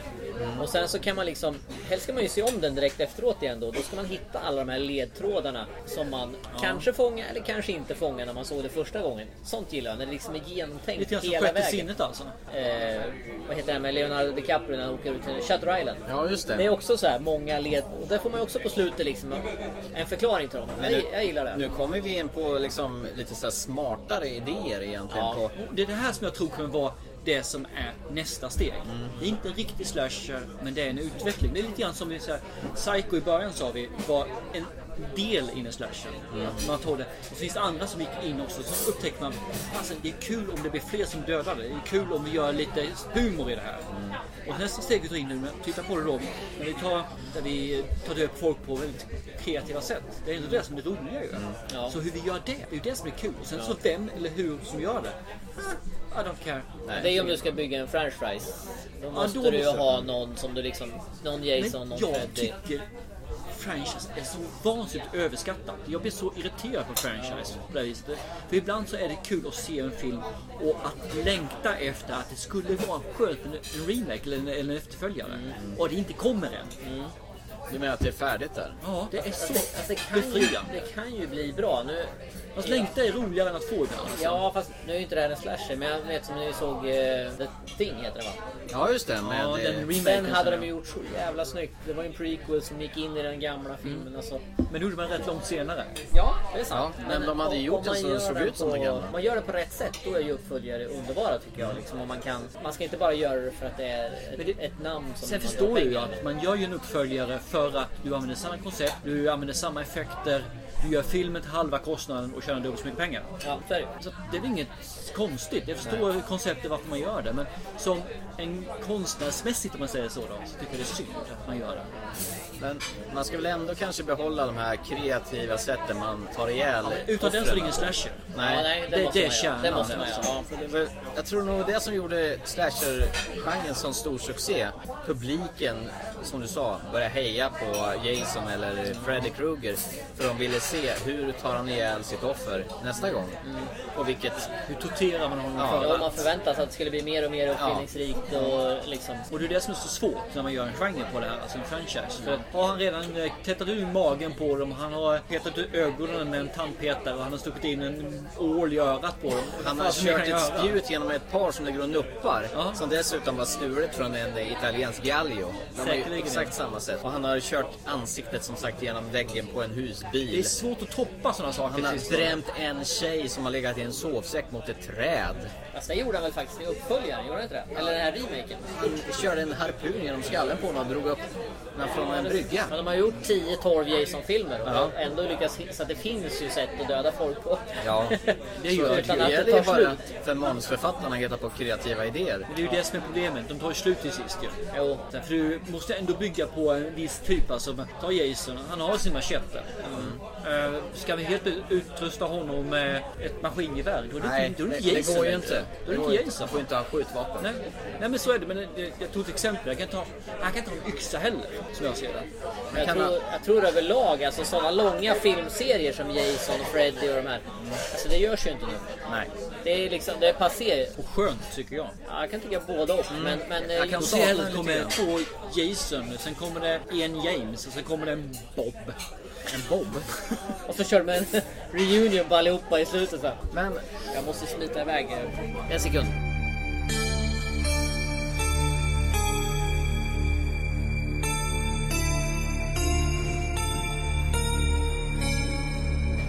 Och sen så kan man liksom, helst ska man ju se om den direkt efteråt igen då. Då ska man hitta alla de här ledtrådarna som man kanske fångar eller kanske inte fångar när man såg det första gången. Sånt gillar jag, när det liksom är genomtänkt
Lite grann som
hela
sjätte
vägen.
sinnet alltså.
Eh, vad heter det med Leonardo DiCaprio när han åker ut till Shutter Island?
Ja, just det.
är också så här många led... Och där får man ju också på slutet liksom en förklaring till dem. Men jag, jag gillar det.
Nu kommer vi in på liksom lite så här smartare idéer egentligen.
Ja.
På,
Det är det här som jag tror kommer vara det som är nästa steg. Det är inte en riktig slasher, men det är en utveckling. Det är lite grann som vi säger, Psycho i början sa vi var en del i en slasher.
Mm.
Att Man tog det. Och så finns det andra som gick in också. Så upptäckte man att det är kul om det blir fler som dödar det. Det är kul om vi gör lite humor i det här. Och nästa steg vi tar in nu, men titta på det då, när vi tar, där vi tar död på folk på väldigt kreativa sätt. Det är ändå det som är det roliga ju.
Ja.
Så hur vi gör det, det är ju det som är kul. Och sen
Ja.
så vem eller hur som gör det. I don't care.
Det är ju om du ska bygga en french fries. Då måste
då
du ju
måste-
ha någon som du liksom... Någon Jason,
Men
någon
jag
Freddy.
tycker franchise är så vansinnigt överskattat. Jag blir så irriterad på franchise på det här viset. För ibland så är det kul att se en film och att längta efter att det skulle vara skönt med en remake eller en, eller en efterföljare.
Mm.
Och det inte kommer än.
Du menar att det är färdigt där?
Ja, det är så
Alltså, alltså, det, kan ju,
befriande.
det kan ju bli bra. Nu,
Fast längta är roligare än att få ibland. alltså.
Ja, fast nu är ju inte det här en slasher, men jag vet som ni såg eh, The Thing heter det va?
Ja, just det. Med,
Ja, den
eh,
remaken
Den hade
som
de
jag-
gjort så jävla snyggt. Det var ju en prequel som gick in i den
Mm.
gamla filmen. Alltså.
Men nu gjorde man rätt långt senare.
Ja, det är sant.
Ja, men de hade
om-
gjort
om
den
man
så den
gör
såg ut som
på-
den gamla.
Om man gör det på rätt sätt, då är ju uppföljare underbara tycker jag. Liksom, om man, kan, man ska inte bara göra det för att det är ett, ett namn som
Sen
man
förstår
gör
ju
pengar.
att man gör ju en uppföljare för att du använder samma koncept, du använder samma effekter, du gör filmen till halva kostnaden och tjänar dubbelt så mycket pengar.
Ja, så är det.
Så det är väl inget konstigt. Jag förstår konceptet varför man gör det. Men som en konstnärsmässigt om man säger så då, så tycker jag det är synd att man gör det.
Men man ska väl ändå kanske behålla de här kreativa sätten man tar ihjäl
Utan den
offren.
så är det ingen slasher.
Nej,
Ja, nej, det Det- måste det man göra. Det tjänar måste man
göra, ja.
För Jag tror nog det som gjorde slasher-genren sån stor succé, publiken, som du sa, började heja på Jason eller Freddy Krueger. För de ville se hur tar han ihjäl sitt offer nästa gång. Och vilket...
Hur torterar man honom
Ja.
Ja, man förväntar sig att det skulle bli mer och mer uppfinningsrikt och liksom...
Och det är det som är så svårt när man gör en genre på det här, alltså en franchise. För har han redan eh, tätat ur magen på dem, han har petat ut ögonen med en tandpetare och han har stuckit in en ål i örat på dem.
Han har
Vad fan ska
kört
man
ett
göra?
spjut genom ett par som ligger och nuppar. Som dessutom var stulet från en eh, italiensk Gallio. De har ju
Säkerligen.
exakt samma sätt. Och han har kört ansiktet som sagt genom väggen på en husbil.
Det är svårt att toppa sådana saker.
Han har
Precis.
drämt en tjej som har legat i en sovsäck mot ett träd.
Fast det gjorde han väl faktiskt i uppföljaren, gjorde han inte det? Eller den här remaken?
Han körde en harpun genom skallen på honom och drog upp den från en brygga.
Men de har gjort 10-12 Jason-filmer och
Ja.
har ändå lyckats Så att det finns ju sätt att döda folk på.
Ja,
det gör
det
utan
ju.
att
Det
det
gäller ju
tar
bara
slut.
för manusförfattarna att hitta på kreativa idéer.
Men det är ju det som är problemet, de tar ju slut till sist ju. För du måste ändå bygga på en viss typ, alltså ta Jason, han har sin machete. Mm. Ska vi helt utrusta honom med ett maskingevär? Då är det
Nej,
inte, då är det
det-
inte
det
Jason.
går ju
längre.
inte.
Då är
Det
det
går
inte
ju-
Jason.
han får inte ha skjutvapen.
Nej, nej men så är det. Men eh, jag tog ett exempel, jag kan ta, han kan inte ha en yxa heller, som jag ser det.
Jag
kan
tror,
ha-
jag tror överlag, alltså sådana långa filmserier som Jason och Freddy och de här. Alltså det görs ju inte nu.
Nej.
Det är liksom, det är passé.
Och skönt tycker jag.
Ja, jag kan tycka både och. Men, men eh,
jag kan se
saknar
hellre
lite
kommer
grann.
två Jason, sen kommer det en James och sen kommer det en Bob. En Bob?
Och så kör de en reunion på allihopa i slutet så. Men jag måste smita iväg eh, en sekund.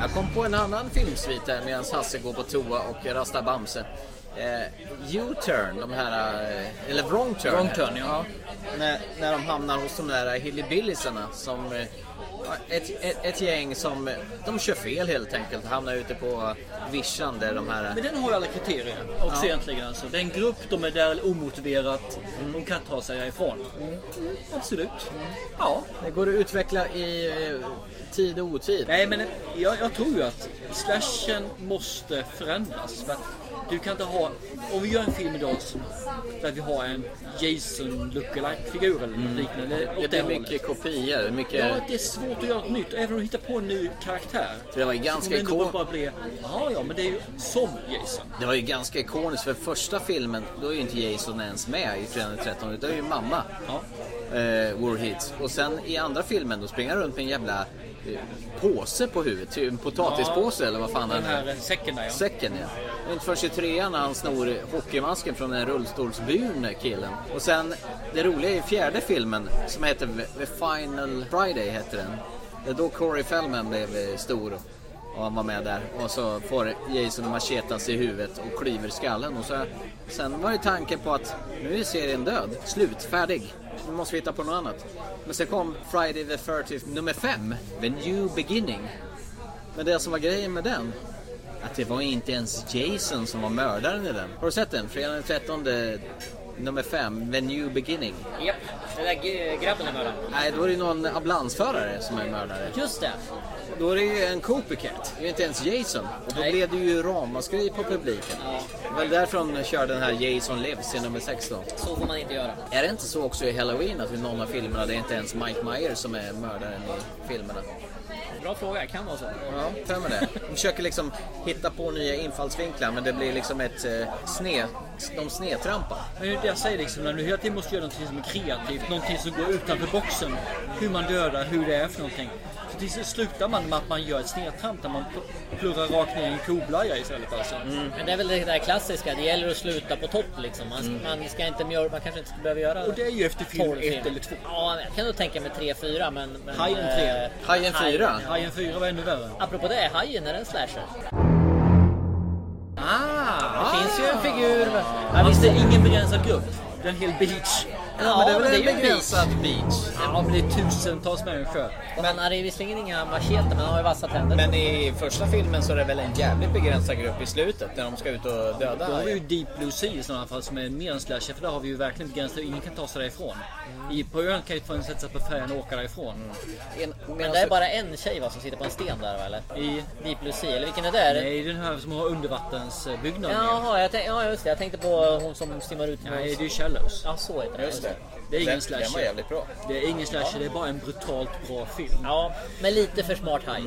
Jag kom på en annan filmsvit här medan Hasse går på toa och rastar Bamse. Eh, U-turn, de här... eh, Eller wrong turn.
Wrong
här.
Turn, ja.
När, när de hamnar hos de där hillbilliesarna som... eh, Ett, ett, ett gäng som... eh, De kör fel helt enkelt. Hamnar ute på vischan där de här... eh,
Men den har ju alla kriterier också
Ja.
egentligen. Alltså. Det är en grupp, de är där omotiverat, de kan ta sig därifrån. Absolut. Ja.
Det går att utveckla i eh, tid och otid.
Nej men jag, jag tror ju att slashen måste förändras. För att du kan inte ha, om vi gör en film idag som, där vi har en Jason lookalike figur eller något liknande. åt
Mm. Det blir
hållet.
mycket kopior. Mycket...
Ja, det är svårt att göra något nytt. Även om du hittar på en ny karaktär.
För det var ju
så
ganska
kommer det ändå
ikon-
bara bli, ja ja men det är ju som Jason.
Det var ju ganska ikoniskt för första filmen, då är ju inte Jason ens med i Fredag den 13 utan det är ju mamma.
Ja.
Eh, Warheats. Och sen i andra filmen då springer han runt med en jävla eh, påse på huvudet, typ en potatispåse eller vad fan
den
den är.
här säcken där ja.
Säcken ja. Det är Inte förrän i trean när han snor hockeymasken från den rullstolsburne killen. Och sen det roliga i fjärde filmen som heter The Final Friday heter den. Det är då Corey Feldman blev eh, stor och han var med där. Och så får Jason en machetas i huvudet och klyver skallen. Och så, sen var det tanken på att nu är serien död, slut, färdig. Nu måste vi hitta på något annat. Men sen kom Friday the 30th nummer 5, The New Beginning. Men det som var grejen med den att det var inte ens Jason som var mördaren i den. Har du sett den? Fredag den 13 nummer 5, The New Beginning.
Japp, den där g- grabben är mördaren.
Nej, då är det någon ambulansförare som är mördare.
Just det.
Då är det ju en copycat, det är ju inte ens Jason. Och då blev det ju ramaskri på publiken. Det var därför de körde den här Jason Lives i nummer 16.
Så får man inte göra.
Är det inte så också i Halloween att i någon av filmerna det är inte ens Mike Myers som är mördaren i filmerna?
Bra fråga, det kan vara så.
Ja, för mig det. De försöker liksom hitta på nya infallsvinklar men det blir liksom ett eh, sne... De snedtrampar.
Men det är det jag säger liksom, när du hela tiden måste göra någonting som är kreativt, någonting som går utanför boxen. Hur man dödar, hur det är för någonting. Så till slut slutar man med att man gör ett snedtramp där man pl- plurrar rakt ner i en koblaja istället alltså.
Men det är väl det där klassiska, det gäller att sluta på topp liksom. Man, man ska inte mjölk, man kanske inte ska behöva göra
Mm. Och det är ju efter film
12
ett
filmer.
eller två.
Ja, jag kan nog tänka mig tre, fyra men... men
Hajen
eh,
tre.
Hajen fyra?
ja.
Hajen 4 var ännu värre.
Apropå det, Hajen, är den slasher?
Ah!
Det finns ju en figur.
Ja, visst, det är ingen begränsad grupp. Det är en hel beach.
Ja, men det är väl en begränsad
beach.
Ja, men det är tusentals människor.
Och han hade ju visserligen inga macheter men han har ju vassa tänder.
Men i första filmen så är det väl en jävligt begränsad grupp i slutet när de ska ut och
Då har
döda.
vi ju Deep Blue Sea i sådana fall som är mer en slasher för där har vi ju verkligen begränsat. Ingen kan ta sig därifrån. I, på ön kan ju fan sätta sig på färjan och åka därifrån.
Mm. Men det är bara en tjej va, som sitter på en sten där va, eller?
I
Deep Blue Sea, eller vilken är det?
Nej, den här som har undervattensbyggnaden.
Jaha, jag tänk, ja, just det. Jag tänkte på hon som simmar ut.
Nej, det är ju Shallows.
Ja, så heter den.
Just det. Det är ingen
Den-
slasher.
den var jävligt
bra.
Det är ingen slasher,
Ja.
det är bara en brutalt bra film.
Ja, men lite för smart haj.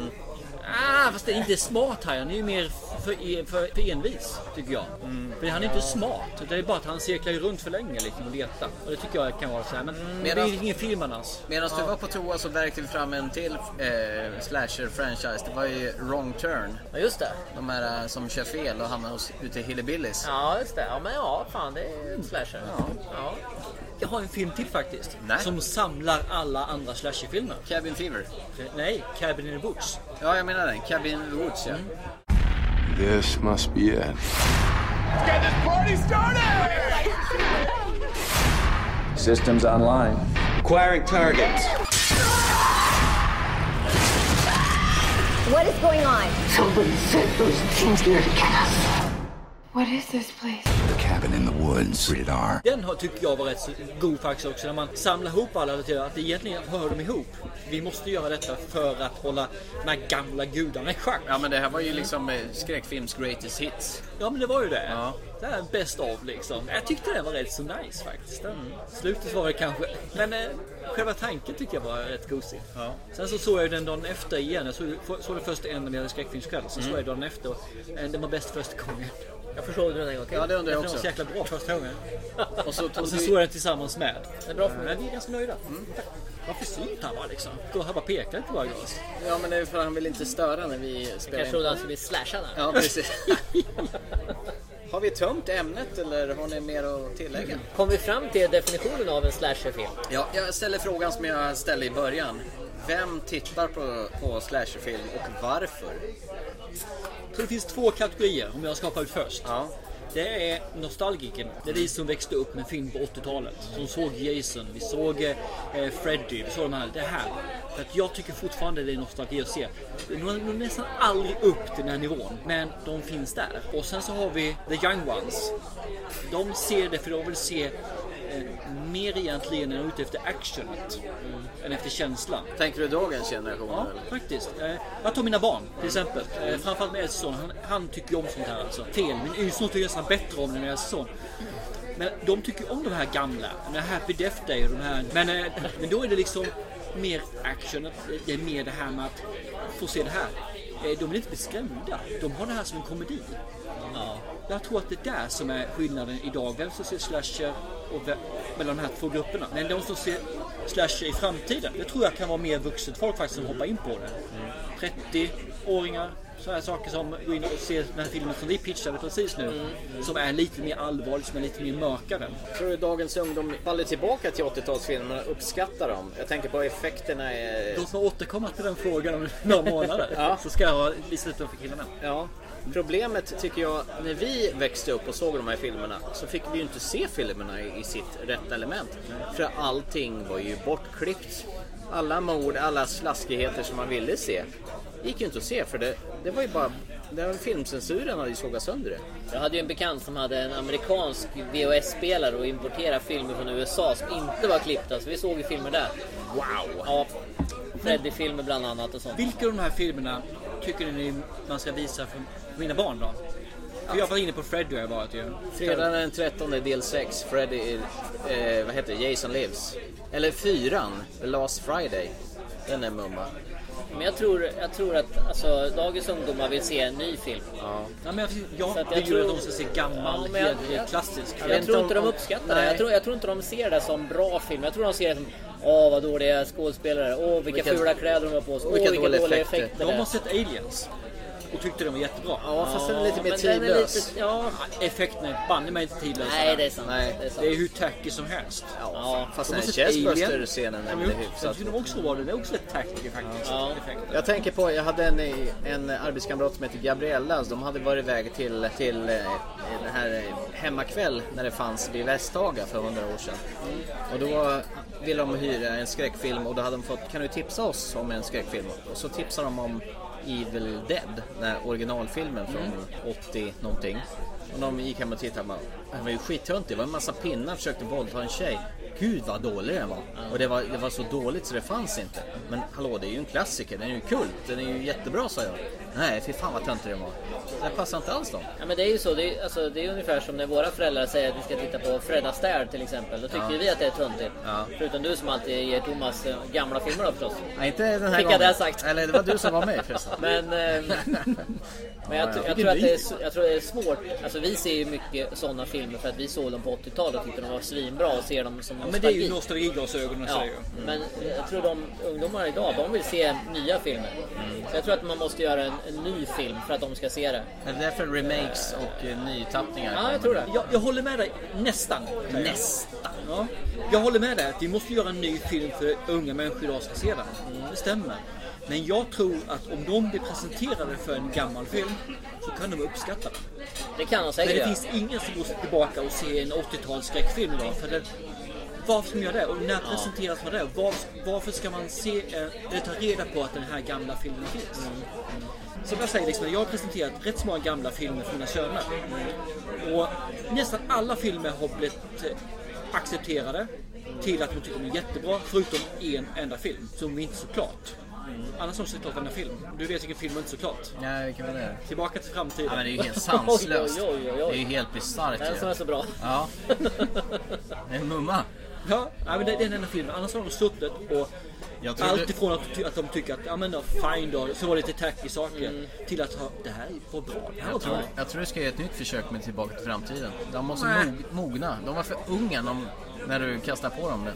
Ah, fast det är inte smart här. Han är ju mer för, e- för, för envis, tycker jag.
Mm.
För han är inte smart. Det är bara att han cirklar ju runt för länge liksom och letar. Och det tycker jag kan vara så här. Men
Mm.
Medan-
det är ingen film annars.
Medan du
Ja.
var på toa så värkte vi fram en till eh, slasher-franchise. Det var ju Wrong Turn.
Ja, just det.
De här eh, som kör fel och hamnar hos, ute i Hillbillies.
Ja, just det. Ja, men ja, fan det är ju en slasher. Mm. Ja.
Jag har en film till faktiskt. Som samlar alla andra slasherfilmer.
Cabin Fever?
Nej, Cabin in the Woods.
Ja, jag menar den. Cabin in the Woods, ja.
This must be it.
Let's get this party started!
Systems online. Acquiring targets.
What is going on? Somebody sent those things there to get us.
What is this place?
The cabin in the woods. Rated R.
Den har, tycker jag var rätt så god faktiskt också. När man samlar ihop alla relaterar att egentligen hör de ihop. Vi måste göra detta för att hålla de här gamla gudarna i schack.
Ja, men det här var ju liksom eh, skräckfilms greatest hits.
Ja men det var ju det. Det här är bäst av liksom. Jag tyckte den var rätt så nice faktiskt. Den, slutet var det kanske. Men eh, själva tanken tycker jag var rätt gosig. Sen så såg jag ju den dagen efter igen. Jag såg, såg den först en när vi hade skräckfilmskväll. Sen
Mm.
såg jag den dagen efter. och, eh, Den var bäst första gången.
Jag förstod den en gång till.
Ja, det undrar jag också. jäkla bra första gången. Och så,
tog
Alltså,
sen
du-
såg jag den tillsammans med.
Det är bra för mig. Mm.
Men vi är ganska nöjda. Vad försynt han var liksom. Då han bara pekade på varje glas.
Ja, men det är för han vill inte störa när vi spelar
Jag trodde
in.
han skulle bli slashad. här.
Ja, precis. har vi tömt ämnet eller har ni mer att tillägga?
Kom vi fram till definitionen av en slasherfilm?
Ja, jag ställer frågan som jag ställde i början. Vem tittar på, på slasherfilm och varför?
Så det finns två kategorier om jag ska hoppa ut först. Det är nostalgiken. Det är vi som växte upp med film på 80-talet. Som såg Jason, vi såg eh, Freddy, vi såg de här. Det här. För att jag tycker fortfarande det är nostalgi att se. De når nästan aldrig upp till den här nivån. Men de finns där. Och sen så har vi the young ones. De ser det för de vill se eh, mer egentligen än ute efter actionet. Än efter känslan.
Tänker du dagens generation?
Ja,
eller?
faktiskt. Eh, jag tar mina barn till exempel. Eh, framförallt min äldste son. Han, han tycker ju om sånt här. Alltså. Fel. Min yngste son tycker nästan bättre om det än min äldste son. Men de tycker ju om de här gamla. Den här Happy Death Day och de här. Men, eh, men då är det liksom mer action. Det är mer det här med att få se det här. Eh, de är inte beskrämda. De har det här som en komedi. Ja. Jag tror att det är där som är skillnaden idag. Vem som ser slasher och vem, mellan de här två grupperna. Men de som ser slasher i framtiden. Det tror jag kan vara mer vuxet folk faktiskt som hoppar in på det. 30-åringar. Sådana här saker som går in och ser den här filmen som vi pitchade precis nu. Som är lite mer allvarlig, som är lite mer mörkare.
Tror du dagens ungdom faller tillbaka till 80-talsfilmerna och uppskattar dem? Jag tänker på effekterna. eh,
Låt mig återkomma till den frågan om några månader.
Ja.
Så ska jag lista ut den för killarna.
Ja. Problemet tycker jag, när vi växte upp och såg de här filmerna så fick vi ju inte se filmerna i i sitt rätta element. För allting var ju bortklippt. Alla mord, alla slaskigheter som man ville se gick ju inte att se för det, det var ju bara den filmcensuren hade ju sågat sönder det.
Jag hade ju en bekant som hade en amerikansk VHS-spelare och importerade filmer från USA som inte var klippta, så vi såg ju filmer där.
Wow!
Ja, Freddy-filmer bland annat och sånt.
Vilka av de här filmerna tycker ni man ska visa för mina barn då? För jag var inne på Freddy har jag varit ju.
Fredagen den 13 del 6, Freddy, eh, vad heter det, Jason Lives. Eller 4, The Last Friday. Den är mumma.
Men jag tror, jag tror att alltså, dagens ungdomar vill se en ny film.
Ja, men jag, jag
Så att
vill ju att de ska se gammal,
men jag-
hederlig,
jag-
klassisk.
Jag,
Jag vet
tror
inte
inte de
om-
uppskattar det.
nej.
Jag tror, jag tror inte de ser det som bra film. Jag tror de ser det som Åh vad dåliga skådespelare, åh vilka,
Vilka-
fula kläder de har på sig, åh vilka, dåliga, effekter. det
De
är."
har sett Aliens och tyckte den var jättebra.
Ja, fast den är lite mer
men den är
tidlös.
lite- Ja, effekterna är banne mig inte tidlösa.
Nej, det är sant.
Nej.
Det är sant.
Det är hur tacky som helst.
Ja, fast
De
den
har sett
Chessbuster
Alien.
scenen är
Ja, men
väl
den
hyfsat.
tyckte de också var det. Det är också ett tacky faktiskt. Effekter.
Jag tänker på, jag hade en, en arbetskamrat som heter Gabriella. så De hade varit iväg till, till eh, den här eh, hemmakväll när det fanns vid Västhaga för hundra år sedan. Och då ville de hyra en skräckfilm och då hade de fått, kan du tipsa oss om en skräckfilm? Och så tipsade de om Evil Dead, den här originalfilmen från
Mm.
80 någonting. Och de gick hem och tittade och bara, han var ju skittöntig. Det var en massa pinnar som försökte våldta en tjej. Gud vad dålig den var. Och det var, det var så dåligt så det fanns inte. Men hallå, det är ju en klassiker. Den är ju kult. Den är ju jättebra sa jag. Nej, fy fan vad töntig den var. Den passar inte alls dem.
Ja, men det är ju så. Det är, alltså, det är ungefär som när våra föräldrar säger att vi ska titta på Fred Astaire till exempel. Då tycker
Ja.
ju vi att det är töntigt. Förutom du som alltid ger Thomas eh, gamla filmer då förstås.
Nej, inte den här
Fick jag
gången.
det sagt?
Eller det var du som var med förresten.
Men, ehm, men jag,
Ja,
tr-
ja.
jag, tror att det är, s- jag tror det är svårt. Alltså, vi ser ju mycket sådana filmer för att vi såg dem på 80-talet och tyckte de var svinbra och ser dem som
Ja, men det är ju nostalgiglasögonen
Ja,
säger ju.
men jag tror de ungdomar idag, de vill se nya filmer. Så jag tror att man måste göra en, en ny film för att de ska se det.
Är det därför remakes och eh, nytappningar
Ja, jag tror det.
Jag, jag håller med dig, nästan. säger jag.
Nästan.
Ja. Jag håller med dig, att vi måste göra en ny film för unga människor idag ska se den. Mm, Det stämmer. Men jag tror att om de blir presenterade för en gammal film så kan de uppskatta den.
Det kan de
Men
säkert
det
göra.
finns ingen som går tillbaka och ser en 80-tals skräckfilm idag. För det, varför ska man göra det? Och när presenteras man det? Var, varför ska man se, eh, eller ta reda på att den här gamla filmen finns?
Mm.
Som jag säger, liksom, jag har presenterat rätt många gamla filmer för mina söner. Och nästan alla filmer har blivit eh, accepterade till att de tycker de är jättebra, förutom en enda film som vi inte såklart.
Mm.
Annars har vi såklart varenda film. Du vet vilken film är inte såklart?
Nej, vilken var det?
Tillbaka till framtiden.
Ja, men det är ju helt sanslöst. Det är ju helt bisarrt.
Den
ju.
som är så bra.
Ja. Det är mumma.
Ja, ja men det är den enda filmen. Annars har de suttit och
Jag trodde-
allt ifrån att, ty- att de tycker att ja, men, då, fine då, så var det lite tacky saker till att ha, det här var bra. Det här var
Jag tror,
bra.
jag tror du ska göra ett nytt försök med Tillbaka till framtiden. De måste
Nej.
mog, mogna. De var för unga när de- när du kastar på dem det.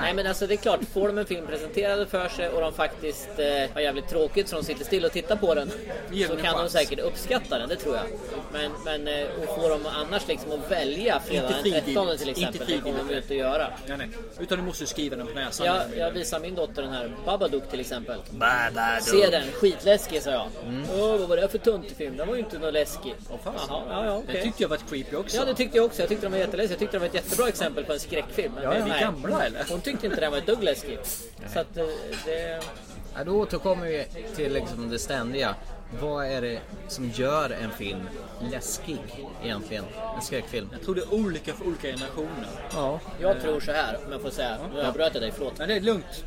Nej men alltså det är klart, får de en film presenterad för sig och de faktiskt eh, har jävligt tråkigt så de sitter still och tittar på den.
Ge
Så
den en
kan de
chans.
säkert uppskatta den, det tror jag. Men, men eh, och får de annars liksom att välja fredag den 13 till exempel, det kommer de ju inte att göra.
Nej, nej. Utan du måste ju skriva den på näsan. Mm.
Jag, jag visar min dotter den här Babadook till exempel.
Babadook.
Se den, skitläskig sa jag.
Mm.
Åh, vad var det för töntig film? Den var ju inte något läskig. Jaha, ja, ja,
Det
okej.
tyckte jag var creepy också.
Ja det tyckte jag också. Jag tyckte de var jätteläskiga. Jag tyckte de var ett jättebra exempel på en skräckfilm. Men
Ja, är vi
nej.
gamla, eller?
Hon tyckte inte den var ett dugg läskig. Så att eh, det...
Ja, då återkommer vi till liksom det ständiga. Vad är det som gör en film läskig egentligen? En skräckfilm.
Jag tror det är olika för olika generationer.
Ja.
Jag tror så här, om jag får säga. Nu avbröt jag dig, förlåt.
Men det är lugnt.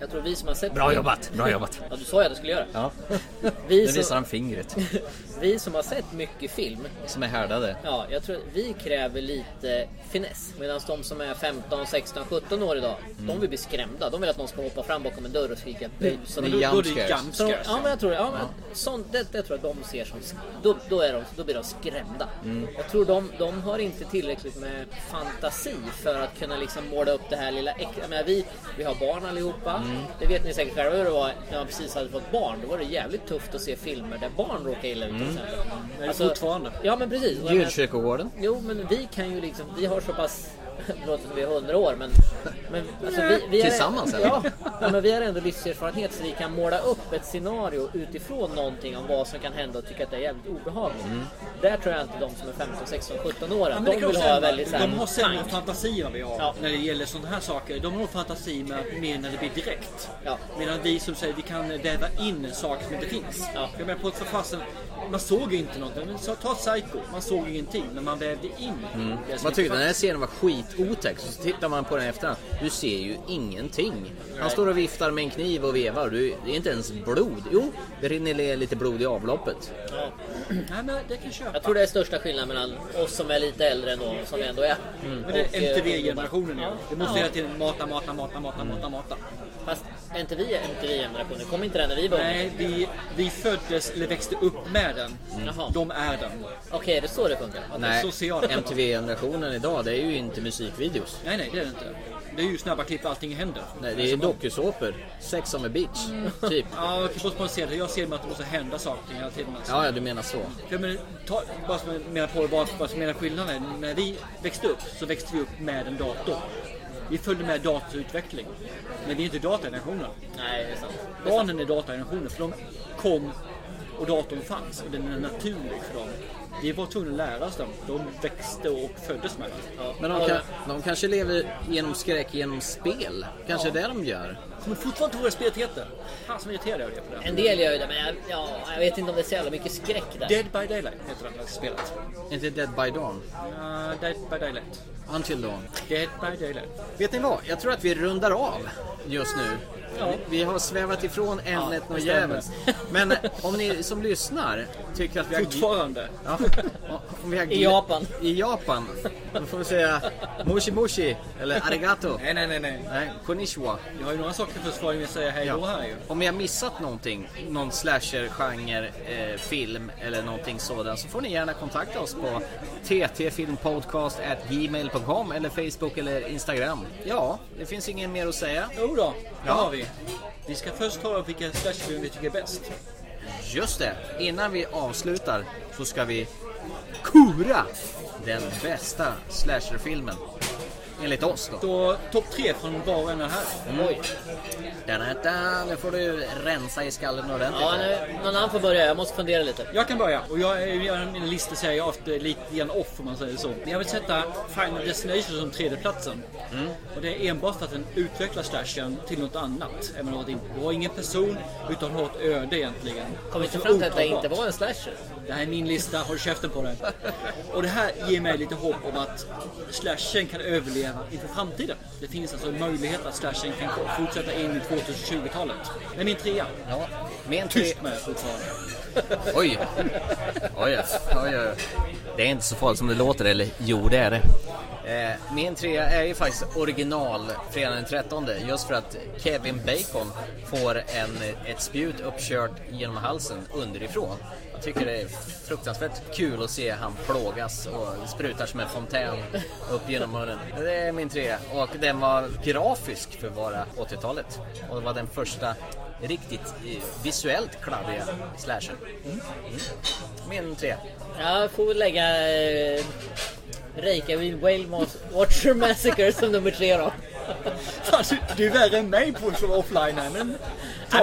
Jag tror vi som har sett...
Bra jobbat, bra jobbat.
Ja, du sa ju att du skulle göra det.
Ja.
Vi
nu
som-
visar han fingret.
Vi som har sett mycket film,
Som är härdade.
ja, jag tror att vi kräver lite finess. Medan de som är 15, 16, 17 år idag, de vill bli skrämda. De vill att någon ska hoppa fram bakom en dörr och skrika bus.
Mm. Det är
Då- då
jump scares.
Så de- Ja, men jag tror ja, men Sånt, det, det tror jag de ser som... Då, då, är de, då blir de skrämda.
Mm.
Jag tror de, de har inte tillräckligt med fantasi för att kunna liksom måla upp det här lilla äck- Jag menar, vi, vi har barn allihopa.
Mm.
Det vet ni säkert själva hur det var när man precis hade fått barn. Då var det jävligt tufft att se filmer där barn råkade illa ut till
Mm.
exempel. Alltså,
det är fortfarande.
Ja men precis. Och jag menar-
Djurkyrkogården.
Jo men vi kan ju liksom, vi har så pass det låter som vi är hundra år men, men alltså, vi, vi är,
Tillsammans, eller?
ja, ja, men vi har ändå livserfarenhet så vi kan måla upp ett scenario utifrån någonting om vad som kan hända och tycka att det är jävligt obehagligt.
Mm.
Där tror jag inte de som är 15, 16, 17 år
Ja,
att
men det kan
de vill
också
ha
hända.
väldigt så här,
De har sämre fantasi än vad vi har när det gäller sådana här saker. De har nog fantasi med mer när det blir direkt. Medan vi som säger vi kan väva in saker som inte finns. Jag menar på ett förfassen, man såg ju inte någonting. Men så, ta Psycho, man såg ingenting men man vävde in
Mm.
det som
Man
inte
tyckte den här
fanns.
scenen var skitotäck, så tittar man på den efterhand. Du ser ju ingenting. Han står och viftar med en kniv och vevar. Du, det är inte ens blod. Jo, det rinner ner lite blod i avloppet.
Ja.
Nej, men det kan jag köpa.
Jag tror det är största skillnaden mellan oss som är lite äldre ändå, som vi ändå är.
Mm.
Men det
och,
är
eh,
MTV-generationen
ungdomar.
ja. Det måste
Ja. Mm.
hela tiden mata, mata, mata, mata, mata, mata.
Fast är inte vi MTV-generationen? Kom inte den när vi var unga?
Nej, vi, vi föddes eller växte upp med den. De är den.
Okej, okay, det är så det funkar?
Nej,
Så ser jag det.
MTV-generationen idag, det är ju inte musikvideos.
Nej, nej, det är det inte. Det är ju snabba klipp, allting händer.
Nej, det är dokusåpor. Sex on a beach,
Mm.
typ.
Ja, jag måste man se det. Jag ser det att det måste hända saker och ting hela tiden. alltså.
Ja, ja, du menar så.
Jag menar, ta, bara som jag menar på vad, vad som menar skillnaden. är. När vi växte upp så växte vi upp med en dator. Vi följde med datorsutveckling. Men vi är inte datagenerationen.
Nej, det är sant.
Barnen är datagenerationen för de kom och datorn fanns och den är naturlig för dem. Vi var tvungna att lära oss dem. De växte och föddes med det.
Men de, kan, de kanske lever genom skräck genom spel. Kanske
Ja.
det de gör.
eh, Kommer fortfarande inte ihåg vad spelet heter. Fan som irriterad jag blev på det.
En del gör ju det, men jag, ja, jag vet inte om det är så jävla mycket skräck där.
Dead by Daylight heter det här spelet.
Är inte Dead by Dawn?
Ja, Dead by Daylight.
Until Dawn.
Dead by Daylight.
Vet ni vad? Jag tror att vi rundar av just nu.
Ja.
Vi vi har svävat ifrån ämnet
det
något
stämmer.
jävligt. Men eh, om ni som lyssnar tycker att vi har...
Fortfarande.
Ja, om vi har
I Japan.
I Japan. Då får vi säga moshi moshi eller arigato.
Nej, nej, nej. nej.
Nej, konnichiwa.
Jag har ju några saker för försvar med att säga hej då här ju.
Om jag missat någonting, någon slasher-genre, eh, film eller någonting sådant så får ni gärna kontakta oss på ttfilmpodcast.gmail.com eller Facebook eller Instagram. Ja, det finns inget mer att säga.
Jo då, det
Ja.
har vi. Vi ska först ta vilka slashfilmer vi tycker är bäst.
Just det, innan vi avslutar så ska vi kora den bästa slasherfilmen. Enligt oss då.
Då topp tre från var och en av här.
Oj. Den här, där, nu får du rensa i skallen ordentligt.
Ja, nu, någon annan får börja. Jag måste fundera lite.
Jag kan börja. Och jag är- jag har mina listor så jag är ofta lite grann off om man säger så. Men jag vill sätta Final Destination som tredje platsen. Och det är enbart för att den utvecklar slashen till något annat. Än vad den har varit innan. Du har ingen person utan du har ett öde egentligen.
Kom inte
Som är
fram till att det
otagbart.
inte var en slasher.
Det här är min lista, håll käften på den. Och det här ger mig lite hopp om att slashen kan överleva inför framtiden. Det finns alltså en möjlighet att slashen kan fortsätta in i 2020-talet. Det är min trea.
Ja, med en
Tyst med fortfarande.
Oj. Oj, oj, oj. Det är inte så farligt som det låter, eller jo det är det. Eh, min trea är ju faktiskt original Fredagen den 13 just för att Kevin Bacon får en, ett spjut uppkört genom halsen underifrån. Jag tycker det är fruktansvärt kul att se han plågas och sprutar som en fontän upp genom munnen. Det är min trea och den var grafisk för att vara 80-talet och det var den första riktigt eh, visuellt kladdiga slasher. Min tre.
Jag får väl lägga eh, Reykjavik Whale Mas- Watcher Massacre som nummer tre då.
Fan, Alltså, du- du är värre än mig på att slå offline här, men
Nej,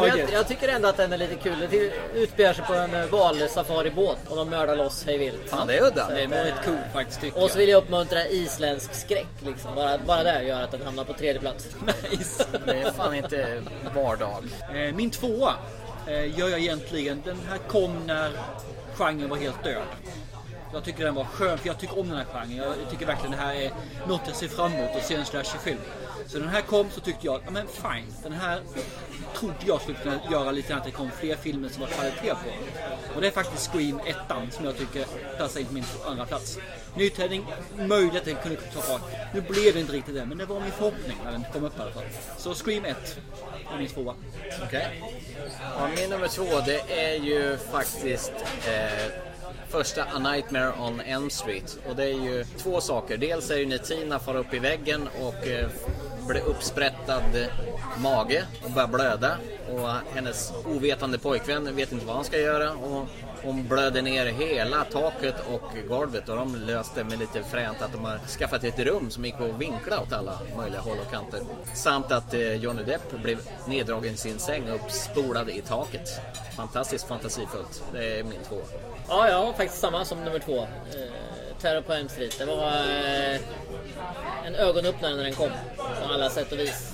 men
taget.
jag, jag tycker ändå att den är lite kul. Det utspelar sig på en eh, valsafaribåt och de mördar loss hej vilt.
Fan, det är udda.
Så-
Det är
väldigt coolt faktiskt tycker
Och så vill jag uppmuntra isländsk skräck. Liksom. Bara, bara det gör att den hamnar på tredje plats.
Nice.
Det är fan inte vardag.
Eh, Min tvåa eh, gör jag egentligen. Den här kom när genren var helt död. Jag tycker den var skön, för jag tycker om den här genren. Jag tycker verkligen det här är något jag ser fram emot att se en slasherfilm. Så när den här kom så tyckte jag, att, ja men fine. Den här trodde jag skulle kunna göra lite grann att det kom fler filmer som var kvalitet på. Och det är faktiskt Scream 1 som jag tycker passar in på min andra plats. Nytändning, möjligt att den kunde ta fart. Nu blev det inte riktigt det, men det var min förhoppning när den kom upp i alla fall. Så Scream 1 är min tvåa.
Okej. Ja, min nummer två det är ju faktiskt eh, första A Nightmare on Elm Street. Och det är ju två saker. Dels är det ju när Tina far upp i väggen och eh, blir uppsprättad mage och börjar blöda. Och hennes ovetande pojkvän vet inte vad han ska göra. Och hon blöder ner hela taket och golvet och de löste med lite fränt att de har skaffat ett rum som gick att vinkla åt alla möjliga håll och kanter. Samt att eh, Johnny Depp blev neddragen i sin säng och uppspolad i taket. Fantastiskt fantasifullt. Det är min två.
Ja, jag har faktiskt samma som nummer två. Eh, Terror på Elm Street. Det var eh, en ögonöppnare när den kom. På alla sätt och vis.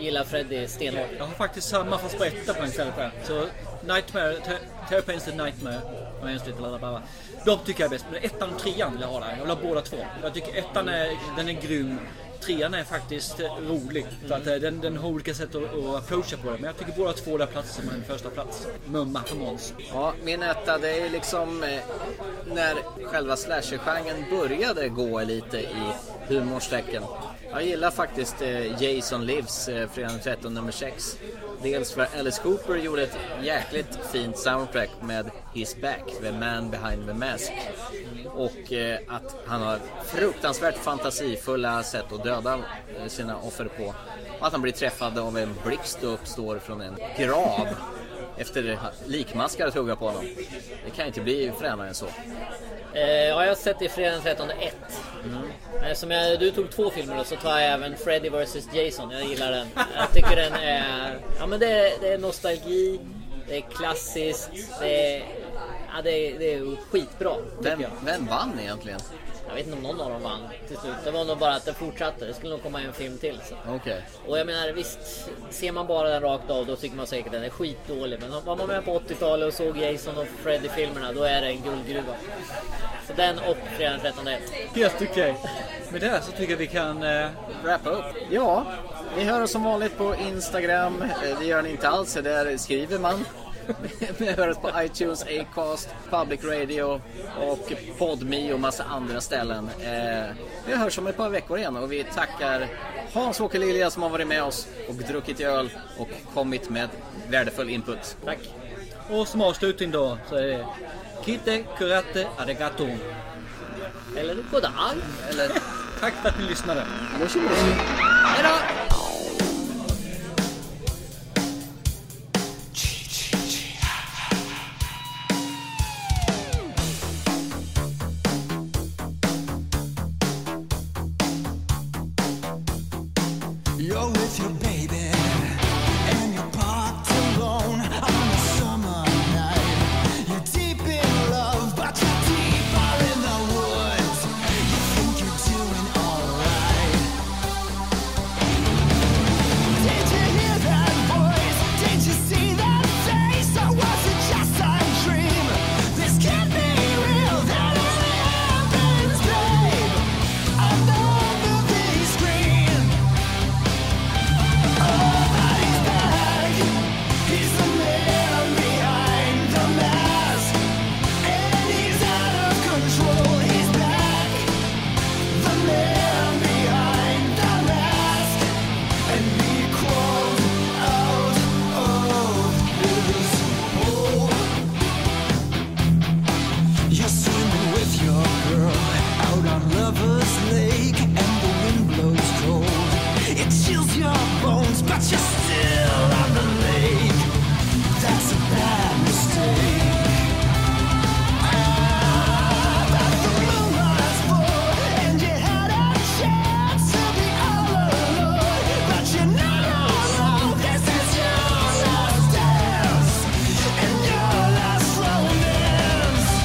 Gillar Freddy stenhårt.
Jag har faktiskt samma fast på etta på en ställe på den. Så Nightmare, Ter- Terror Pains and Nightmare och Elm Street Lalababa. De tycker jag är bäst, men ettan och trean vill jag ha där. Jag vill ha båda två. Jag tycker ettan är, den är grym. Trean är faktiskt eh, rolig. För att eh, den, den har olika sätt att, att approacha på det. Men jag tycker båda två där platser som en första plats. Mumma på Måns.
Ja, min etta det är ju liksom eh, när själva slasher-genren började gå lite i humorns tecken. Jag gillar faktiskt eh, Jason Lives, eh, Fredagen den 13 nummer 6. Dels för Alice Cooper gjorde ett jäkligt fint soundtrack med His Back, The Man Behind the Mask. Och eh, att han har fruktansvärt fantasifulla sätt att döda eh, sina offer på. Och att han blir träffad av en blixt och uppstår från en grav efter likmaskar att hugga på honom. Det kan inte bli fränare än så.
Eh, ja, jag har sett det i Fredagen den 13 1. Eftersom jag, du tog två filmer då, så tar jag även Freddy vs Jason. Jag gillar den. Jag tycker den är... Ja, men det, är- det är nostalgi, det är klassiskt, det är... Ja, det, är- det är ju skitbra.
Vem, vem vann egentligen?
Jag vet inte om någon av dem vann till slut. Det var nog bara att den fortsatte. Det skulle nog komma en film till. Så.
Okej.
Och jag menar visst, ser man bara den rakt av då tycker man säkert att den är skitdålig. Men var man med på 80-talet och såg Jason och Freddy-filmerna då är det en guldgruva. Så den och Fredag den 13
Helt okej. Med det här så tycker jag vi kan... Eh,
wrappa upp. Ja, ni hör oss som vanligt på Instagram. Eh, Det gör ni inte alls, så där skriver man. Ni hör oss på iTunes, Acast, Public Radio och Podme och massa andra ställen. Eh, vi hörs om ett par veckor igen och vi tackar Hans-Åke Lilja som har varit med oss och druckit öl och kommit med värdefull input.
Tack. Och som avslutning då så är det... Kite kurate arigato.
Eller goddag.
Eller...
Tack för att ni lyssnade.
Moshi
Hejdå!
You're with your baby, and you're parked alone on a summer night. You're deep in love, but you're deeper in the woods. You think you're doing alright. Did you hear that voice? Did you see that face? Or was it just a dream? This can't be real. That only happens, babe. On the movie screen. He's the man behind the mask, and he's out of control. He's back, the man behind the mask, and he crawled out of his hole. You're swimming with your girl out on Lover's Lake, and the wind blows cold. It chills your bones, but you're still on the lake. That's a bad mistake. Ah, but the moon was full, and you had a chance to be all alone. But you're not alone. This is your last dance and your last romance.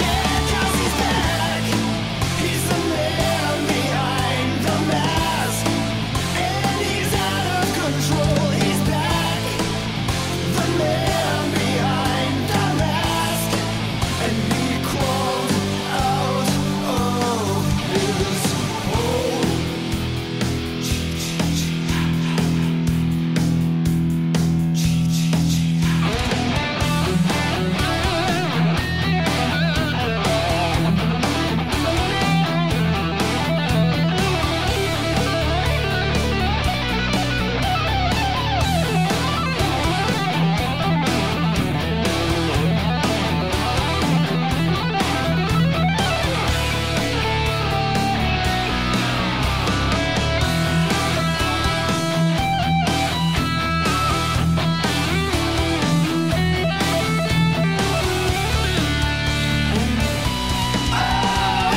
Yeah, 'cause he's back. He's the man behind the mask, and he's out of control. He's back. The man behind the mask, and he crawled out of his hole.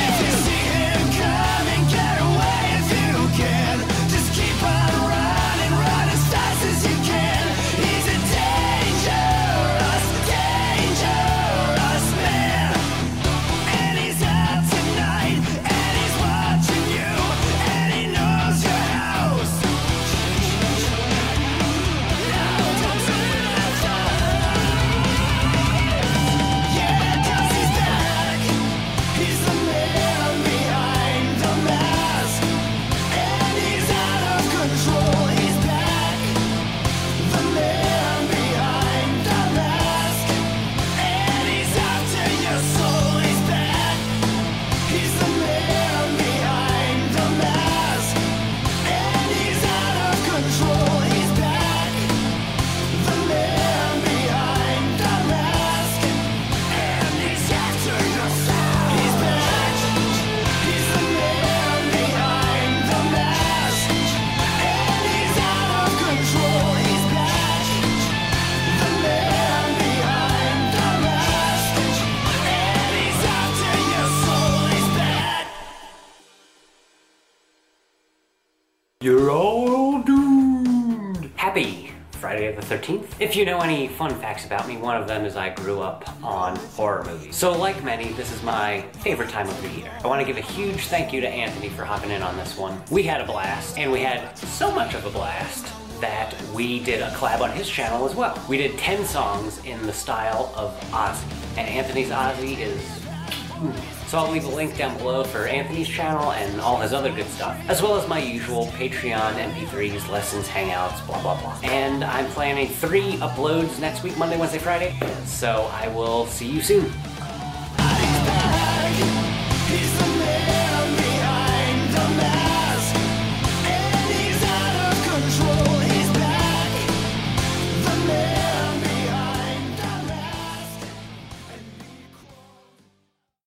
If you see him coming, get away if you can. Just keep on running, run as fast as you can. He's a dangerous, dangerous man. And he's out tonight, and he's watching you, and he knows your house. Yeah, 'cause he's back. He's the man behind the mask, and he's out of control. He's back, the man behind the mask, and he's after your soul. He's back. He's the man behind the mask, and he's out of control. He's back, the man behind the mask, and he's after your soul. He's back. He's the man behind the mask, and he's out of control. He's back. The man behind the mask, and he's after your soul. He's back.
You're all doomed. Happy
Friday the 13th. If you know any fun facts about me, one of them is I grew up on horror movies. So, like many, this is my favorite time of the year. I want to give a huge thank you to Anthony for hopping in on this one. We had a blast, and we had so much of a blast that we did a collab on his channel as well. We did 10 songs in the style of Ozzy, and Anthony's Ozzy is so I'll leave a link down below for Anthony's channel and all his other good stuff, as well as my usual Patreon, MP3s, lessons, hangouts, blah blah blah. And I'm planning three uploads next week, Monday, Wednesday, Friday. So I will see you soon.